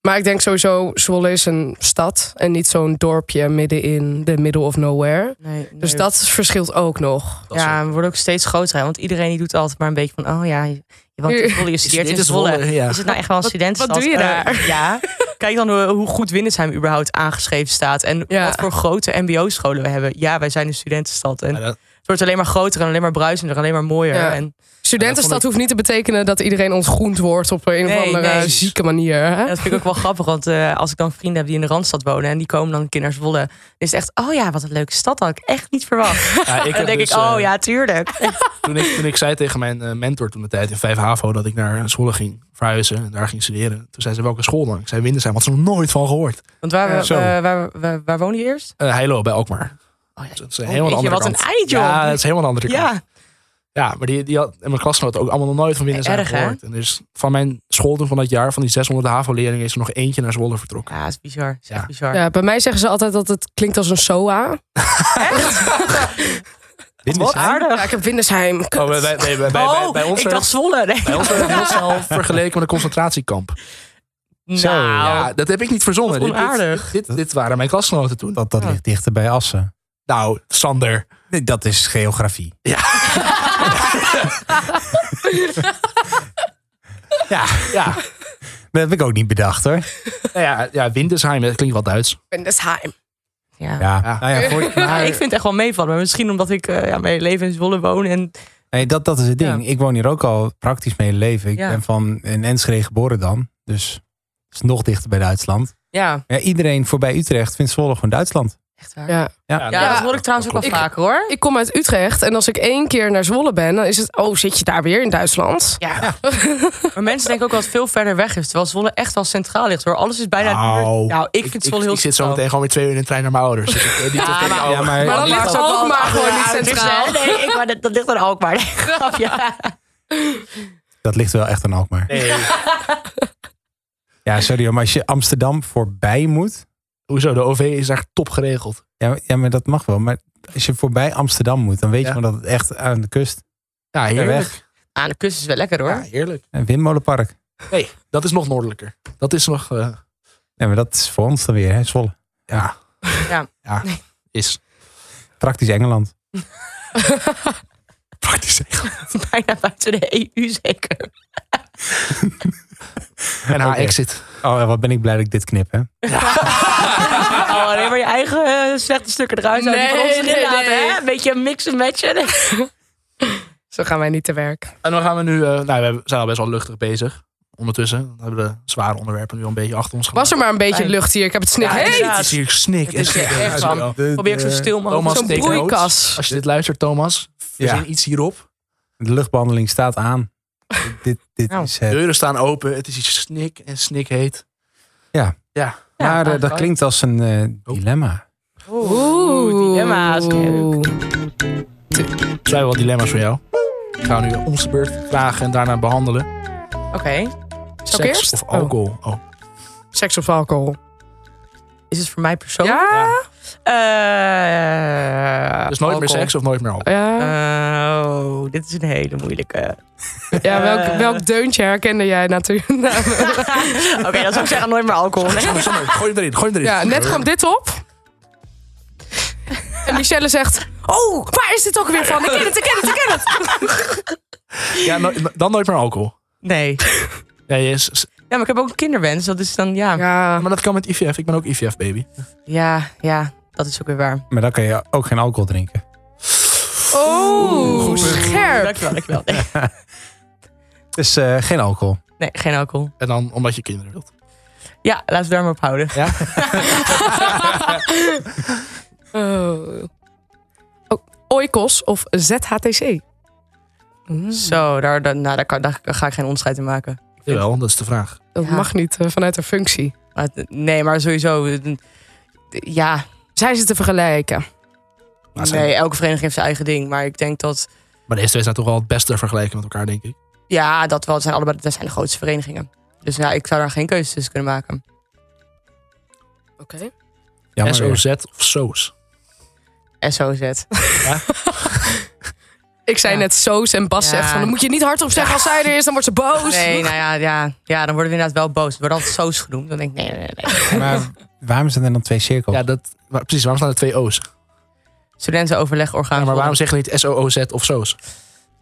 A: Maar ik denk sowieso, Zwolle is een stad en niet zo'n dorpje midden in de middle of nowhere.
D: Nee, nee.
A: Dus dat verschilt ook nog.
B: Dat
D: ja, we worden ook steeds groter. Hè? Want iedereen die doet altijd maar een beetje van... Oh ja, je, je woont in Zwolle, je studeert in Zwolle.
B: Ja.
D: Is het nou echt wel een studentenstad?
A: wat doe je
D: Eh,
A: daar?
D: ja. Kijk dan hoe, hoe goed Winnesheim überhaupt aangeschreven staat. En
A: Ja.
D: wat voor grote mbo-scholen we hebben. Ja, wij zijn een studentenstad. En
B: Ja, dat-
D: het wordt alleen maar groter en alleen maar bruisender. Alleen maar mooier.
A: Ja.
D: En
A: Studentenstad hoeft niet te betekenen dat iedereen ontgroend wordt op een
D: Nee,
A: of andere
D: nee.
A: zieke manier. Hè?
D: En dat vind ik ook wel grappig, want eh, als ik dan vrienden heb die in de Randstad wonen... en die komen dan een keer naar Zwolle, dan is het echt... oh ja, wat een leuke stad, had ik echt niet verwacht.
B: Ja, ik
D: En dan
B: heb
D: denk
B: dus,
D: ik, oh
B: eh,
D: ja, tuurlijk.
B: Toen ik, toen ik zei tegen mijn eh, mentor toen de tijd in Vijf Havo dat ik naar Zwolle ging verhuizen en daar ging studeren. Toen zei ze welke school dan? Ik zei Windesheim, want ze nog nooit van gehoord.
D: Want waar,
A: Ja.
D: we-
C: Zo.
D: eh, waar, waar, waar woon je eerst?
B: Eh Heilo bij Alkmaar.
D: Oh ja,
B: Dus dat is een
D: Oh,
B: helemaal
D: jeetje,
B: andere
D: wat een
B: kant.
D: eind, joh.
B: Ja, dat is helemaal een andere kant.
D: ja.
B: Ja, maar die, die had en mijn klasgenoten ook allemaal nog nooit van binnen zijn
D: Erg, hè?
B: gehoord. En dus van mijn school toen van dat jaar, van die 600 HAVO-leerlingen, is er nog eentje naar Zwolle vertrokken.
D: ja, dat is bizar. Dat is echt
B: Ja.
D: bizar.
A: Ja, bij mij zeggen ze altijd dat het klinkt als een SOA.
D: Wat aardig.
A: Ja, ik heb Windesheim.
B: Oh, bij, bij, bij, bij, bij,
D: oh,
B: bij ons
D: ik
B: werd-
D: dacht Zwolle. Nee.
B: bij ons werd het heel snel vergeleken met een concentratiekamp.
D: Nou,
B: Ja, dat heb ik niet verzonnen.
D: Wat
B: Dit- dit-
D: onaardig.
B: Dit, dit, waren mijn klasgenoten toen.
C: Dat, dat
D: Ja.
C: ligt dichter bij Assen.
B: Nou, Sander.
C: Nee, dat is geografie.
B: Ja, ja.
C: Dat heb ik ook niet bedacht hoor.
B: Nou ja, ja, Windesheim, dat klinkt wel Duits.
A: Windesheim.
D: ja.
C: Ja.
B: Ja.
C: Nou ja, voor,
D: Ja,
C: maar-
D: ik vind het echt wel meevallen. Maar misschien omdat ik eh, ja, mijn leven in Zwolle woon. En,
C: Nee, dat, dat is het ding. Ik woon hier ook al praktisch mijn hele leven. Ik
D: Ja.
C: ben van in Enschede geboren dan. Dus het is nog dichter bij Duitsland.
D: ja,
C: Ja, iedereen voorbij Utrecht vindt Zwolle gewoon Duitsland.
D: echt waar. Ja,
A: Ja.
B: nou.
D: dat hoor ik trouwens ook wel
A: Ik-
D: vaker, hoor.
A: Ik kom uit Utrecht en als ik één keer naar Zwolle ben, dan is het, oh zit je daar weer in Duitsland?
D: Ja. maar mensen denken ook wel dat het veel verder weg is. Terwijl Zwolle echt wel centraal ligt hoor. Alles is bijna duur.
C: Nou,
D: Nou, ik vind Zwolle heel
B: Ik zit zo meteen
D: centraal.
B: gewoon weer twee uur in de trein naar mijn ouders. Dus ik weet niet of ik-
D: maar-
B: oh,
C: ja, maar,
A: Maar dan
D: Ja,
A: ligt
D: dat is ook wel
A: Alkmaar
D: een
A: gewoon
D: aardig
A: niet centraal.
D: gezicht. Nee, ik, maar dat, dat ligt aan Alkmaar. Nee, grapje.
C: dat ligt wel echt aan Alkmaar.
B: nee.
C: Ja, sorry hoor, maar als je Amsterdam voorbij moet...
B: Hoezo? De OV is echt top geregeld.
C: Ja, maar- ja, maar dat mag wel. Maar als je voorbij Amsterdam moet, dan weet
B: Ja.
C: je wel dat het echt aan de kust...
B: Ja, heerlijk.
C: Weg.
D: Aan de kust is wel lekker hoor.
B: Ja, heerlijk.
C: En Windmolenpark.
B: Nee, dat is nog noordelijker. Dat is nog... eh,
C: Nee, maar dat is voor ons dan weer, hè, Zwolle.
B: ja.
D: Ja.
B: ja. Is
C: Praktisch Engeland.
B: praktisch.
D: Bijna buiten de EU zeker.
B: En haar exit.
C: Oh, en wat ben ik blij dat ik dit knip, hè?
D: Oh, alleen maar je eigen eh, slechte stukken eruit. Nee,
A: Nee,
D: die nee,
A: nee,
D: inderdaad,
A: nee.
D: Hè? Een beetje mixen matchen.
A: Zo gaan wij niet te werk.
B: En dan gaan we nu... eh, nou, we hebben- zijn al best wel luchtig bezig. Ondertussen. Dan hebben we de zware onderwerpen nu al een beetje achter ons
A: Was er maar een beetje lucht hier. Ik heb het snik.
D: Ja,
A: Hey,
B: Het is hier snik.
D: Het is hier echt van. Probeer ik zo stil
B: eh, Thomas,
D: mogelijk.
A: Zo'n
B: take notes.
A: broeikas.
B: Als je dit luistert, Thomas, verzin
C: Ja.
B: iets hierop.
C: De luchtbehandeling staat aan. dit dit
D: Nou.
C: is eh,
B: De
C: het.
B: deuren staan open. Het is iets snik en snik heet.
D: Ja, nou,
C: maar eh, dat
D: eigenlijk.
C: klinkt als een eh,
D: Oh.
C: dilemma.
D: Oeh, dilemma's.
A: Oeh.
B: Er zijn wel dilemma's voor jou. Ik ga nu onze beurt vragen en daarna behandelen.
D: Oké.
A: ik
B: Seks
A: eerst?
B: of alcohol? Oh.
A: Seks of alcohol?
D: Is het voor mij persoonlijk?
A: Ja.
D: Eh,
B: Dus nooit meer
D: alcohol.
B: seks of nooit meer alcohol?
A: Ja,
D: Oh, dit is een hele moeilijke.
A: ja welk, welk deuntje herkende jij natuurlijk?
D: Oké, dan zou ik zeggen nooit meer alcohol. Nee.
B: Sander, Sander, gooi hem erin, gooi hem erin.
A: Ja, net kwam dit op. En Michelle zegt... Oh, waar is dit ook weer van? Ik ken het, ik ken het, ik ken het.
B: Ja, no- dan nooit meer alcohol.
D: Nee.
B: Ja, yes. S-
D: Ja, maar ik heb ook een kinderwens. Dat is dan, ja. Ja,
A: Ja,
B: Maar dat kan met IVF. Ik ben ook IVF, baby.
D: ja, dat is ook weer waar.
C: Maar dan kan je ook geen alcohol drinken.
A: oh,
B: Goed.
A: scherp.
D: Dankjewel, dankjewel. Nee,
C: Dus eh, geen alcohol.
D: nee, geen alcohol.
B: En dan omdat je kinderen wilt.
D: Ja, laten we daar maar op houden.
A: Oh. Oh, Oikos of ZHTC? Hm.
D: Zo, daar, daar, nou, daar, kan- daar ga ik geen onderscheid in maken.
B: Jawel, dat is de vraag.
A: Dat
D: Ja.
A: mag niet eh, vanuit haar functie.
D: Maar het- nee, maar sowieso. eh, Ja,
A: Zijn ze te vergelijken?
B: Maar, zijn-
D: nee, elke vereniging heeft zijn eigen ding. Maar ik denk dat,
B: maar deze twee zijn toch wel het beste vergelijken met elkaar, denk ik.
D: ja, dat wel. het zijn allebei dat zijn de grootste verenigingen. Dus ja, ik zou daar geen keuze tussen kunnen maken.
A: Oké.
C: Jammer weer.
B: SOZ of SOS.
D: SOZ.
A: Ik zei
D: Ja.
A: net Soos en Bas
D: Ja.
A: zegt van... dan moet je niet hardop zeggen als zij er is, dan wordt ze boos.
D: Nee, nou ja, ja, ja, dan worden we inderdaad wel boos. We worden altijd soos genoemd. Dan denk ik, nee, nee, nee.
C: Maar waarom zijn er dan twee cirkels?
B: Ja, dat, maar precies. Waarom staan er twee O's?
D: Studentenoverlegorgaan.
B: Ja, maar waarom zeggen we niet SOOZ of SOS?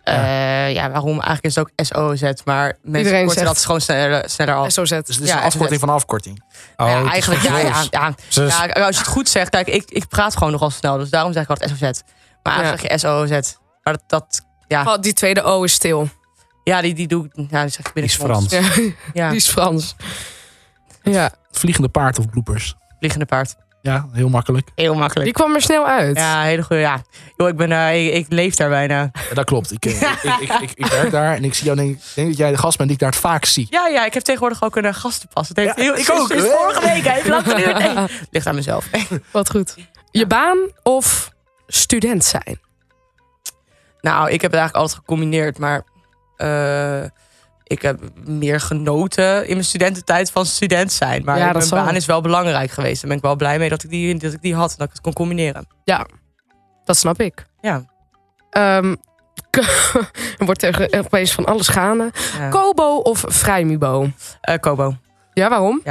D: Eh, ja, waarom? Eigenlijk is het ook SOZ, maar mensen
A: Iedereen
D: korten
A: zegt-
D: dat gewoon sneller, sneller af.
A: Zo zet.
B: Dus het is
D: Ja,
B: een afkorting van een afkorting.
C: Oh,
D: Ja,
C: het is
D: eigenlijk, ja, ja,
C: groot.
D: ja,
C: Dus
D: ja, als je het goed zegt, kijk, ik, ik praat gewoon nogal snel, dus daarom zeg ik altijd SOZ. Maar
A: Ja.
D: zeg je SOZ. Maar dat, dat
A: Oh, die tweede O is stil.
D: ja, die, die doe ik, ja, die zeg ik
C: die
D: binnen
C: is
D: het mond.
C: Frans.
A: Ja,
D: Ja,
A: die is Frans. Ja,
B: Vliegende paard of bloepers?
D: vliegende paard.
B: Ja, heel makkelijk.
D: Heel makkelijk.
A: die kwam er snel uit.
D: Ja, hele goede, ja. Yo, ik ben, eh, ik, ik leef daar bijna.
B: Ja, dat klopt. Ik, eh, ik, ik, ik, ik werk daar en ik zie jou denk, ik denk dat jij de gast bent die ik daar het vaak zie.
D: Ja, ja, ik heb tegenwoordig ook een eh, gastenpas. Het heeft
B: Ja,
D: heel,
B: ik
D: sinds-
B: ook,
D: sinds
B: hè?
D: vorige week, hè. heeft lang geduurd. Nee, ligt aan mezelf.
A: Wat goed. Je baan of student zijn?
D: Nou, ik heb het eigenlijk altijd gecombineerd, maar eh, ik heb meer genoten in mijn studententijd van student zijn. Maar
A: Ja, dat
D: mijn
A: zal.
D: baan is wel belangrijk geweest. Daar ben ik wel blij mee dat ik die, dat ik die had en dat ik het kon combineren.
A: Dat snap ik.
D: Ja.
A: Ehm, k- er wordt tegen opeens van alles gaande.
D: ja.
A: Kobo of vrijmibo?
D: Eh, Kobo.
A: Ja, waarom?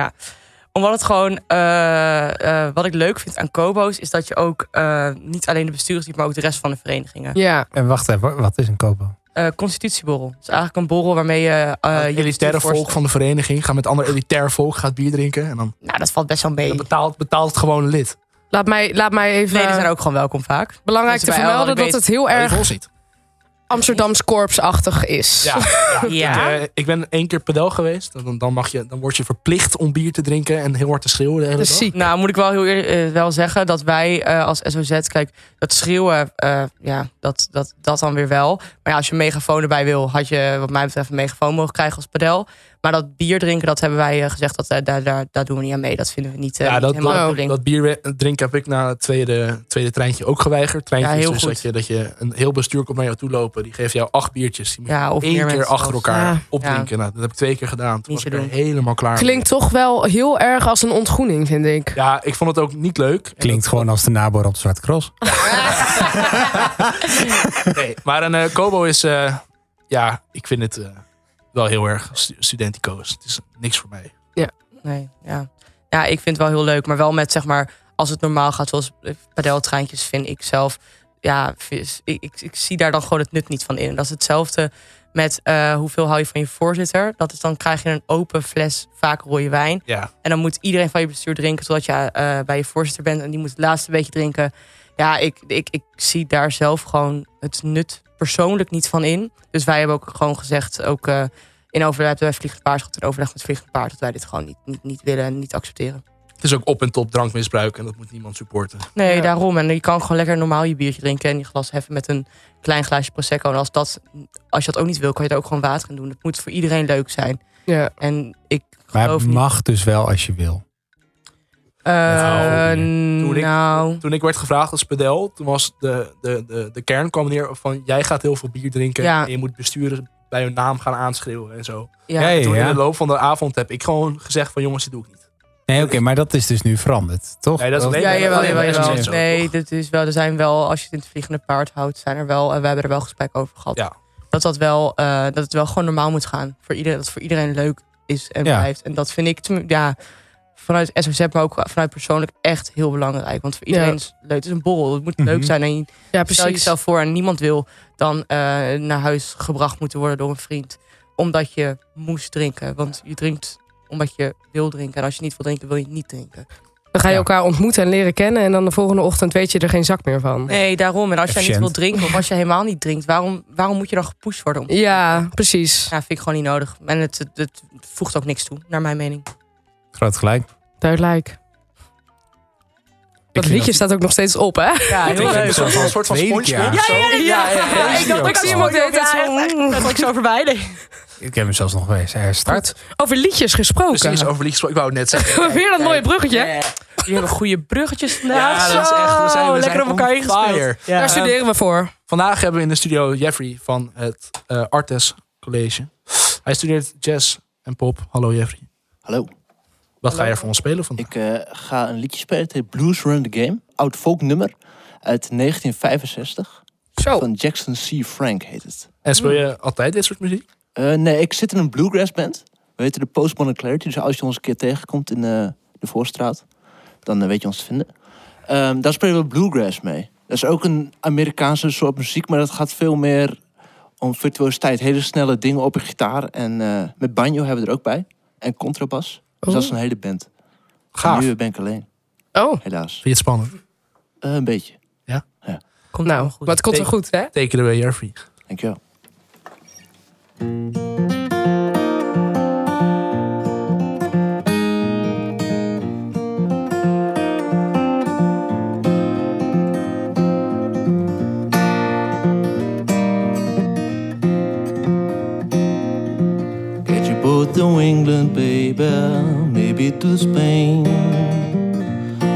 D: Omdat het gewoon, eh, eh, wat ik leuk vind aan Kobo's, is dat je ook eh, niet alleen de bestuurders ziet, maar ook de rest van de verenigingen.
A: Ja.
C: En eh, wacht even, wat is een kobo?
D: Eh constitutieborrel. Het is eigenlijk een borrel waarmee je
A: Ah,
D: eh je
B: het elitaire
D: bestuur
B: volk
D: voorstelt.
B: van de vereniging gaat met ander elitair volk gaat bier drinken. En dan
D: Nou, dat valt best wel mee.
B: dan betaalt, betaalt gewoon een lid.
A: Laat mij, laat mij even...
D: Leden zijn ook gewoon welkom vaak.
A: Belangrijk te
D: mensen bij
A: vermelden
D: LHBT.
A: dat het heel
B: Erg.
A: erg
B: ons niet.
A: Amsterdams korpsachtig is.
B: Ja,
D: Ja.
B: Ik, eh, ik ben één keer pedel geweest. Dan, dan, mag je, dan word je verplicht om bier te drinken en heel hard te schreeuwen. De hele
A: Dat is
B: dag.
A: ziek.
D: Nou, moet ik wel heel eerlijk eh, wel zeggen dat wij eh, als SOZ, kijk, dat schreeuwen, eh, ja, dat, dat, dat dan weer wel. Maar ja, als je een megafoon erbij wil, had je wat mij betreft een megafoon mogen krijgen als padel. Maar dat bier drinken, dat hebben wij eh, gezegd, dat, eh, daar, daar, daar doen we niet aan mee. Dat vinden we niet, eh,
B: Ja,
D: niet
B: dat,
D: helemaal de
B: dat,
D: bedoeling.
B: dat bier drinken heb ik na het tweede, tweede treintje ook geweigerd. Treintje
D: Ja,
B: is
D: heel
B: dus
D: goed.
B: dat je, dat je een heel bestuur komt naar jou toe lopen. Die geeft jou acht biertjes. Die moet je
D: Ja, of meer
B: één keer
D: mensen
B: achter
D: zelfs.
B: elkaar
A: Ja.
B: opdrinken. Nou, dat heb ik twee keer gedaan. Toen
D: Niet
B: was
D: te
B: ik er helemaal klaar mee.
A: Klinkt toch wel heel erg als een ontgroening, vind ik.
B: Ja, ik vond het ook niet leuk. En
C: Klinkt
B: dat-
C: gewoon als de naboor op het Zwarte Cross.
B: Nee, maar een eh, Kobo is... eh, ja, ik vind het eh, wel heel erg stu- studentico's. Het is niks voor mij.
D: Nee, ja. ja, ik vind het wel heel leuk, maar wel met zeg maar, als het normaal gaat, zoals eh, padeltreintjes vind ik zelf, ja, vis- ik, ik, ik zie daar dan gewoon het nut niet van in. En dat is hetzelfde met eh, hoeveel hou je van je voorzitter. Dat is dan krijg je een open fles, vaak rode wijn.
B: Ja,
D: En dan moet iedereen van je bestuur drinken totdat je eh, bij je voorzitter bent. En die moet het laatste beetje drinken. Ja, ik, ik, ik zie daar zelf gewoon het nut persoonlijk niet van in. Dus wij hebben ook gewoon gezegd, ook eh, in overleg bij Vliegend Paard, gehad, in overleg met Vliegend Paard, dat wij dit gewoon niet, niet, niet willen en niet accepteren.
B: het is ook op en top drankmisbruik. En dat moet niemand supporten.
D: Nee,
A: Ja.
D: daarom. En je kan gewoon lekker normaal je biertje drinken en je glas heffen met een klein glaasje Prosecco. En als, dat, als je dat ook niet wil, kan je er ook gewoon water in doen. Het moet voor iedereen leuk zijn.
A: Ja.
D: En ik
C: Maar
D: geloof
C: het
D: niet...
C: mag dus wel als je wil.
D: Eh,
B: Toen ik-
D: nou...
B: Toen ik werd gevraagd als pedel, toen was de, de, de, de kern kwam neer van... jij gaat heel veel bier drinken
D: Ja.
B: en je moet besturen bij hun naam gaan aanschreeuwen en zo.
D: Ja,
C: Hey,
B: Toen in
C: ja.
B: de loop van de avond heb ik gewoon gezegd van... jongens, dit doe ik niet.
C: Nee, oké, maar dat is dus nu veranderd, toch? Oh,
B: Nee, dat is alleen
D: Ja,
B: Nee,
D: jawel,
B: nee,
D: jawel,
B: nee,
D: jawel.
B: dat is zo,
D: Nee,
B: toch?
D: dat is wel, er zijn wel, als je het in het vliegende paard houdt, zijn er wel, en we hebben er wel gesprek over gehad.
B: Ja.
D: Dat dat wel, eh, dat het wel gewoon normaal moet gaan. Voor iedereen, dat het voor iedereen leuk is en
C: Ja.
D: blijft. En dat vind ik, tenmin- ja, vanuit SOZ, maar ook vanuit persoonlijk echt heel belangrijk. Want voor iedereen
A: Ja.
D: is het leuk. Het is een borrel, het moet
C: Mhm.
D: leuk zijn. En je-
A: Ja,
D: stel
A: precies.
D: jezelf voor en niemand wil dan eh, naar huis gebracht moeten worden door een vriend. Omdat je moest drinken. Want je drinkt omdat je wil drinken. En als je niet wil drinken, wil je niet drinken.
A: Dan ga je
C: Ja.
A: elkaar ontmoeten en leren kennen. En dan de volgende ochtend weet je er geen zak meer van.
D: Nee, daarom. En als jij niet
C: Efficiënt.
D: wil drinken of als je helemaal niet drinkt, waarom, waarom moet je dan gepusht worden? Om... Ja.
A: Ja, precies.
D: vind ik gewoon niet nodig. En het, het, het voegt ook niks toe, naar mijn mening.
C: Groot gelijk.
A: Duidelijk. Dat
C: vind
A: liedje staat ook nog steeds op, hè?
D: Ja,
B: Ik vind het
C: leuk.
B: Een soort van
C: Tweede
B: spongebob.
C: keer.
B: zo.
A: ja, ja.
C: Ja, ik dacht,
A: Ik zie hem
C: wel.
A: ook de hele tijd zo.
D: Dat ik zo voorbij. Nee.
C: Ik heb hem zelfs nog geweest. Herstart.
A: Over liedjes gesproken.
B: Precies, over liedjes. Ik wou het net zeggen.
A: Weer dat mooie bruggetje.
D: Jullie hebben goede bruggetjes vandaag.
B: Ja, dat is echt- we zijn- we
D: Lekker
B: zijn
D: op elkaar
B: on
D: ingespeeld.
B: fire. Ehm,
D: Ja.
A: Daar studeren we voor.
B: Vandaag hebben we in de studio Jeffrey van het eh, Artes College. Hij studeert jazz en pop. Hallo Jeffrey.
I: Hallo.
B: Wat ga je voor ons spelen vandaag?
I: Ik eh, ga een liedje spelen. Het heet Blues Run the Game. Oud folknummer uit 1965.
A: Zo.
I: Van Jackson C. Frank heet het.
B: En speel je altijd dit soort muziek?
I: Eh, nee, ik zit in een bluegrass band. We heten de Postmodern Clarity. Dus als je ons een keer tegenkomt in eh, de Voorstraat, dan eh, weet je ons te vinden. Ehm, daar spelen we bluegrass mee. Dat is ook een Amerikaanse soort muziek, maar dat gaat veel meer om virtuositeit. Hele snelle dingen op een gitaar. En eh, met banjo hebben we er ook bij. En contrabas. Dus dat is een hele band.
B: Gaaf.
I: En
B: Vind
I: Nu ben ik alleen,
A: Oh,
I: helaas.
B: je het spannend?
I: Eh, een beetje.
D: Komt
A: nou,
D: wel
A: maar het komt wel goed, hè?
B: Take it away, Jeffrey.
I: Dankjewel. Get your boat to England, baby, maybe to Spain.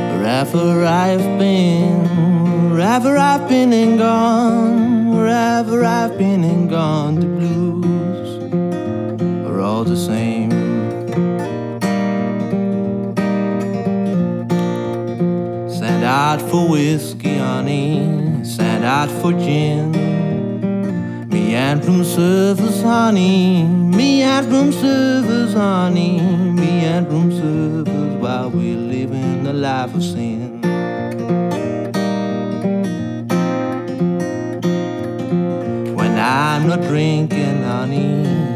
I: Wherever I've been, wherever I've been and gone, wherever I've been and gone, the blues are all the same. Sent out for whiskey, honey, sent out for gin. Me and room service, honey. Me and room service, honey. Me and room service while we're living a life of sin. When I'm not drinking, honey,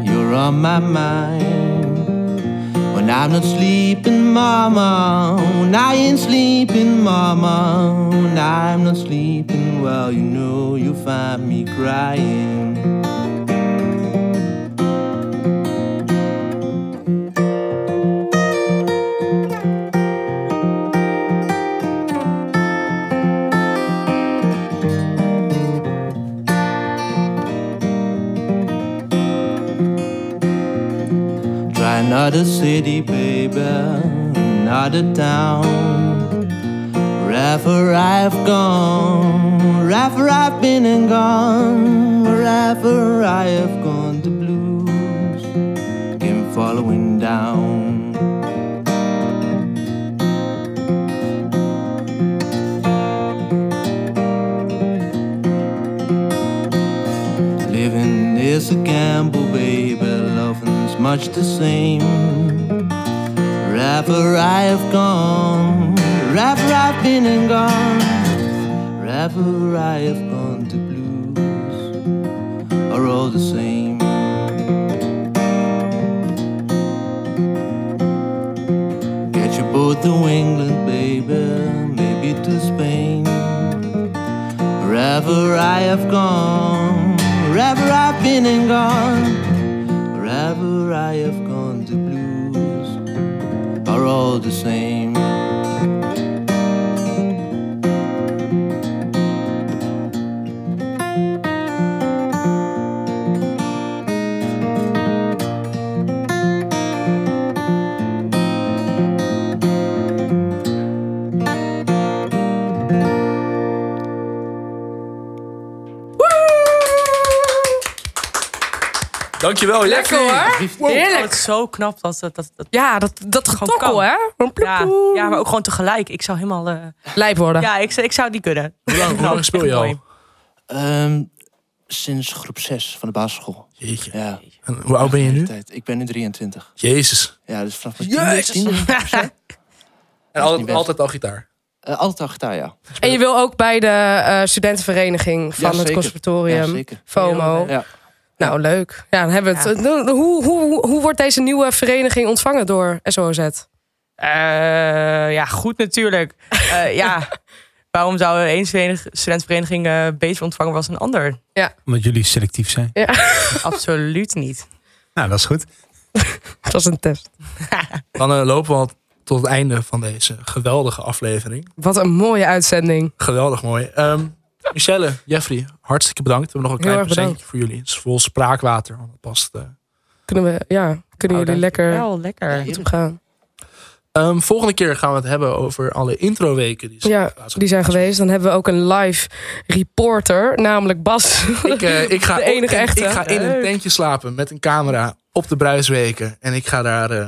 I: you're on my mind. When I'm not sleeping, mama. When I ain't sleeping, mama. When I'm not sleeping, well, you know you'll find me crying. Try another city, baby, another town. Wherever I've gone, wherever I've been and gone, wherever I have gone, the blues came following down. Living is a gamble, baby. Loving's much the same. Wherever I have gone, wherever I've been and gone, wherever I have gone, the blues are all the same. Get your boat to England, baby, maybe to Spain. Wherever I have gone, wherever I've been and gone, wherever I have gone, the blues are all the same.
B: Dankjewel, Jeffrey.
A: Lekker hoor.
D: Oh, Het
A: Heerlijk.
D: is zo knap dat dat, dat, dat
A: Ja, dat, dat getokkel,
D: kan.
A: hè? Gewoon ploep,
D: ja,
A: ploep.
D: ja, maar ook gewoon tegelijk. Ik zou helemaal. eh,
A: Lijp worden.
D: ja, ik, zou- ik zou het niet kunnen.
B: Hoe lang, hoe lang speel je al?
I: Ehm, sinds groep 6 van de basisschool.
B: Jeetje.
I: Ja,
B: En hoe oud ben je nu?
I: tijd. Ik ben nu 23.
B: Jezus.
I: Ja, dus vanaf mijn
B: Jezus.
I: tiende.
B: En
I: is niet
B: altijd,
I: best.
B: altijd al gitaar.
I: Eh, altijd al gitaar, ja.
A: En je wil ook bij de eh, studentenvereniging van het
I: zeker. Ja,
A: conservatorium.
I: zeker.
A: FOMO.
I: Ja.
A: Nou, leuk. Ja, dan hebben we het. Nou, Hoe, hoe, hoe wordt deze nieuwe vereniging ontvangen door SOZ?
D: Eh, ja, goed natuurlijk. Eh, ja, waarom zou een verenig- studentenvereniging eh, beter ontvangen worden als een ander?
C: Omdat jullie selectief zijn.
D: Absoluut niet.
C: Nou, dat is goed.
A: Dat was een test.
B: Dan eh, lopen we al tot het einde van deze geweldige aflevering.
A: Wat een mooie uitzending.
B: Geweldig mooi. Ehm, Michelle, Jeffrey, hartstikke bedankt. We hebben nog een
A: Heel
B: klein
A: erg bedankt.
B: presentje voor jullie. Het is vol spraakwater. want het past, eh.
A: Kunnen we, ja, kunnen
D: Oh,
A: jullie lekker
D: Wel lekker.
A: goed op gaan?
B: Ehm, volgende keer gaan we het hebben over alle introweken. Die zijn
A: Ja,
B: geplaatst.
A: die zijn geweest. Dan hebben we ook een live reporter, namelijk Bas.
B: Ik, eh, ik ga
A: De enige
B: ik-
A: echte.
B: Ik ga in een
A: Leuk.
B: tentje slapen met een camera op de bruisweken. En ik ga daar... eh,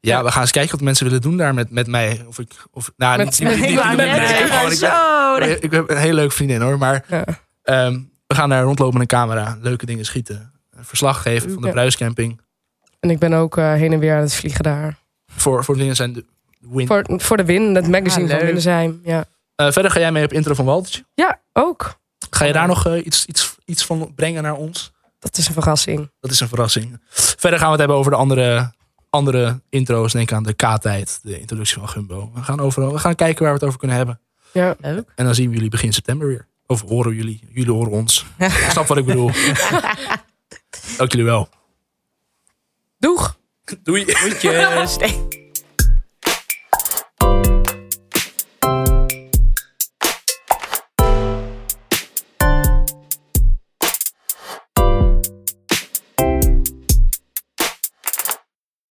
B: ja, we gaan eens kijken wat mensen willen doen daar met, met mij. Of ik, of, nou,
A: Met-
B: niet- niet- niet- niet-
A: met-
B: niet-
A: met-
B: niet-
A: met-
B: gewoon, ik ben-
D: Zo, nee.
B: Ik heb een hele leuke vriendin hoor. Maar
A: Ja.
B: Ehm, we gaan daar rondlopen met een camera, leuke dingen schieten. Een Verslag geven van de
H: Ja.
B: bruiscamping.
H: En ik ben ook eh, heen en weer aan het vliegen daar.
B: Voor, voor dingen zijn de win.
H: Voor, voor de Win, dat magazine
D: Ah,
H: van
D: leuk.
H: Windersheim. Ja.
B: Eh, verder ga jij mee op intro van Waltertje.
H: ja, ook.
B: Ga je daar nog eh, iets, iets, iets van brengen naar ons?
H: Dat is een verrassing.
B: Dat is een verrassing. Verder gaan we het hebben over de andere, andere intro's. Denk aan de K-tijd, de introductie van Gumbo. We gaan, overal, we gaan kijken waar we het over kunnen hebben.
H: Ja.
D: Leuk.
B: En dan zien we jullie begin september weer. Of horen jullie. Jullie horen ons. Ik snap wat ik bedoel. Dank jullie wel.
H: Doeg!
B: Doei.
D: Yes.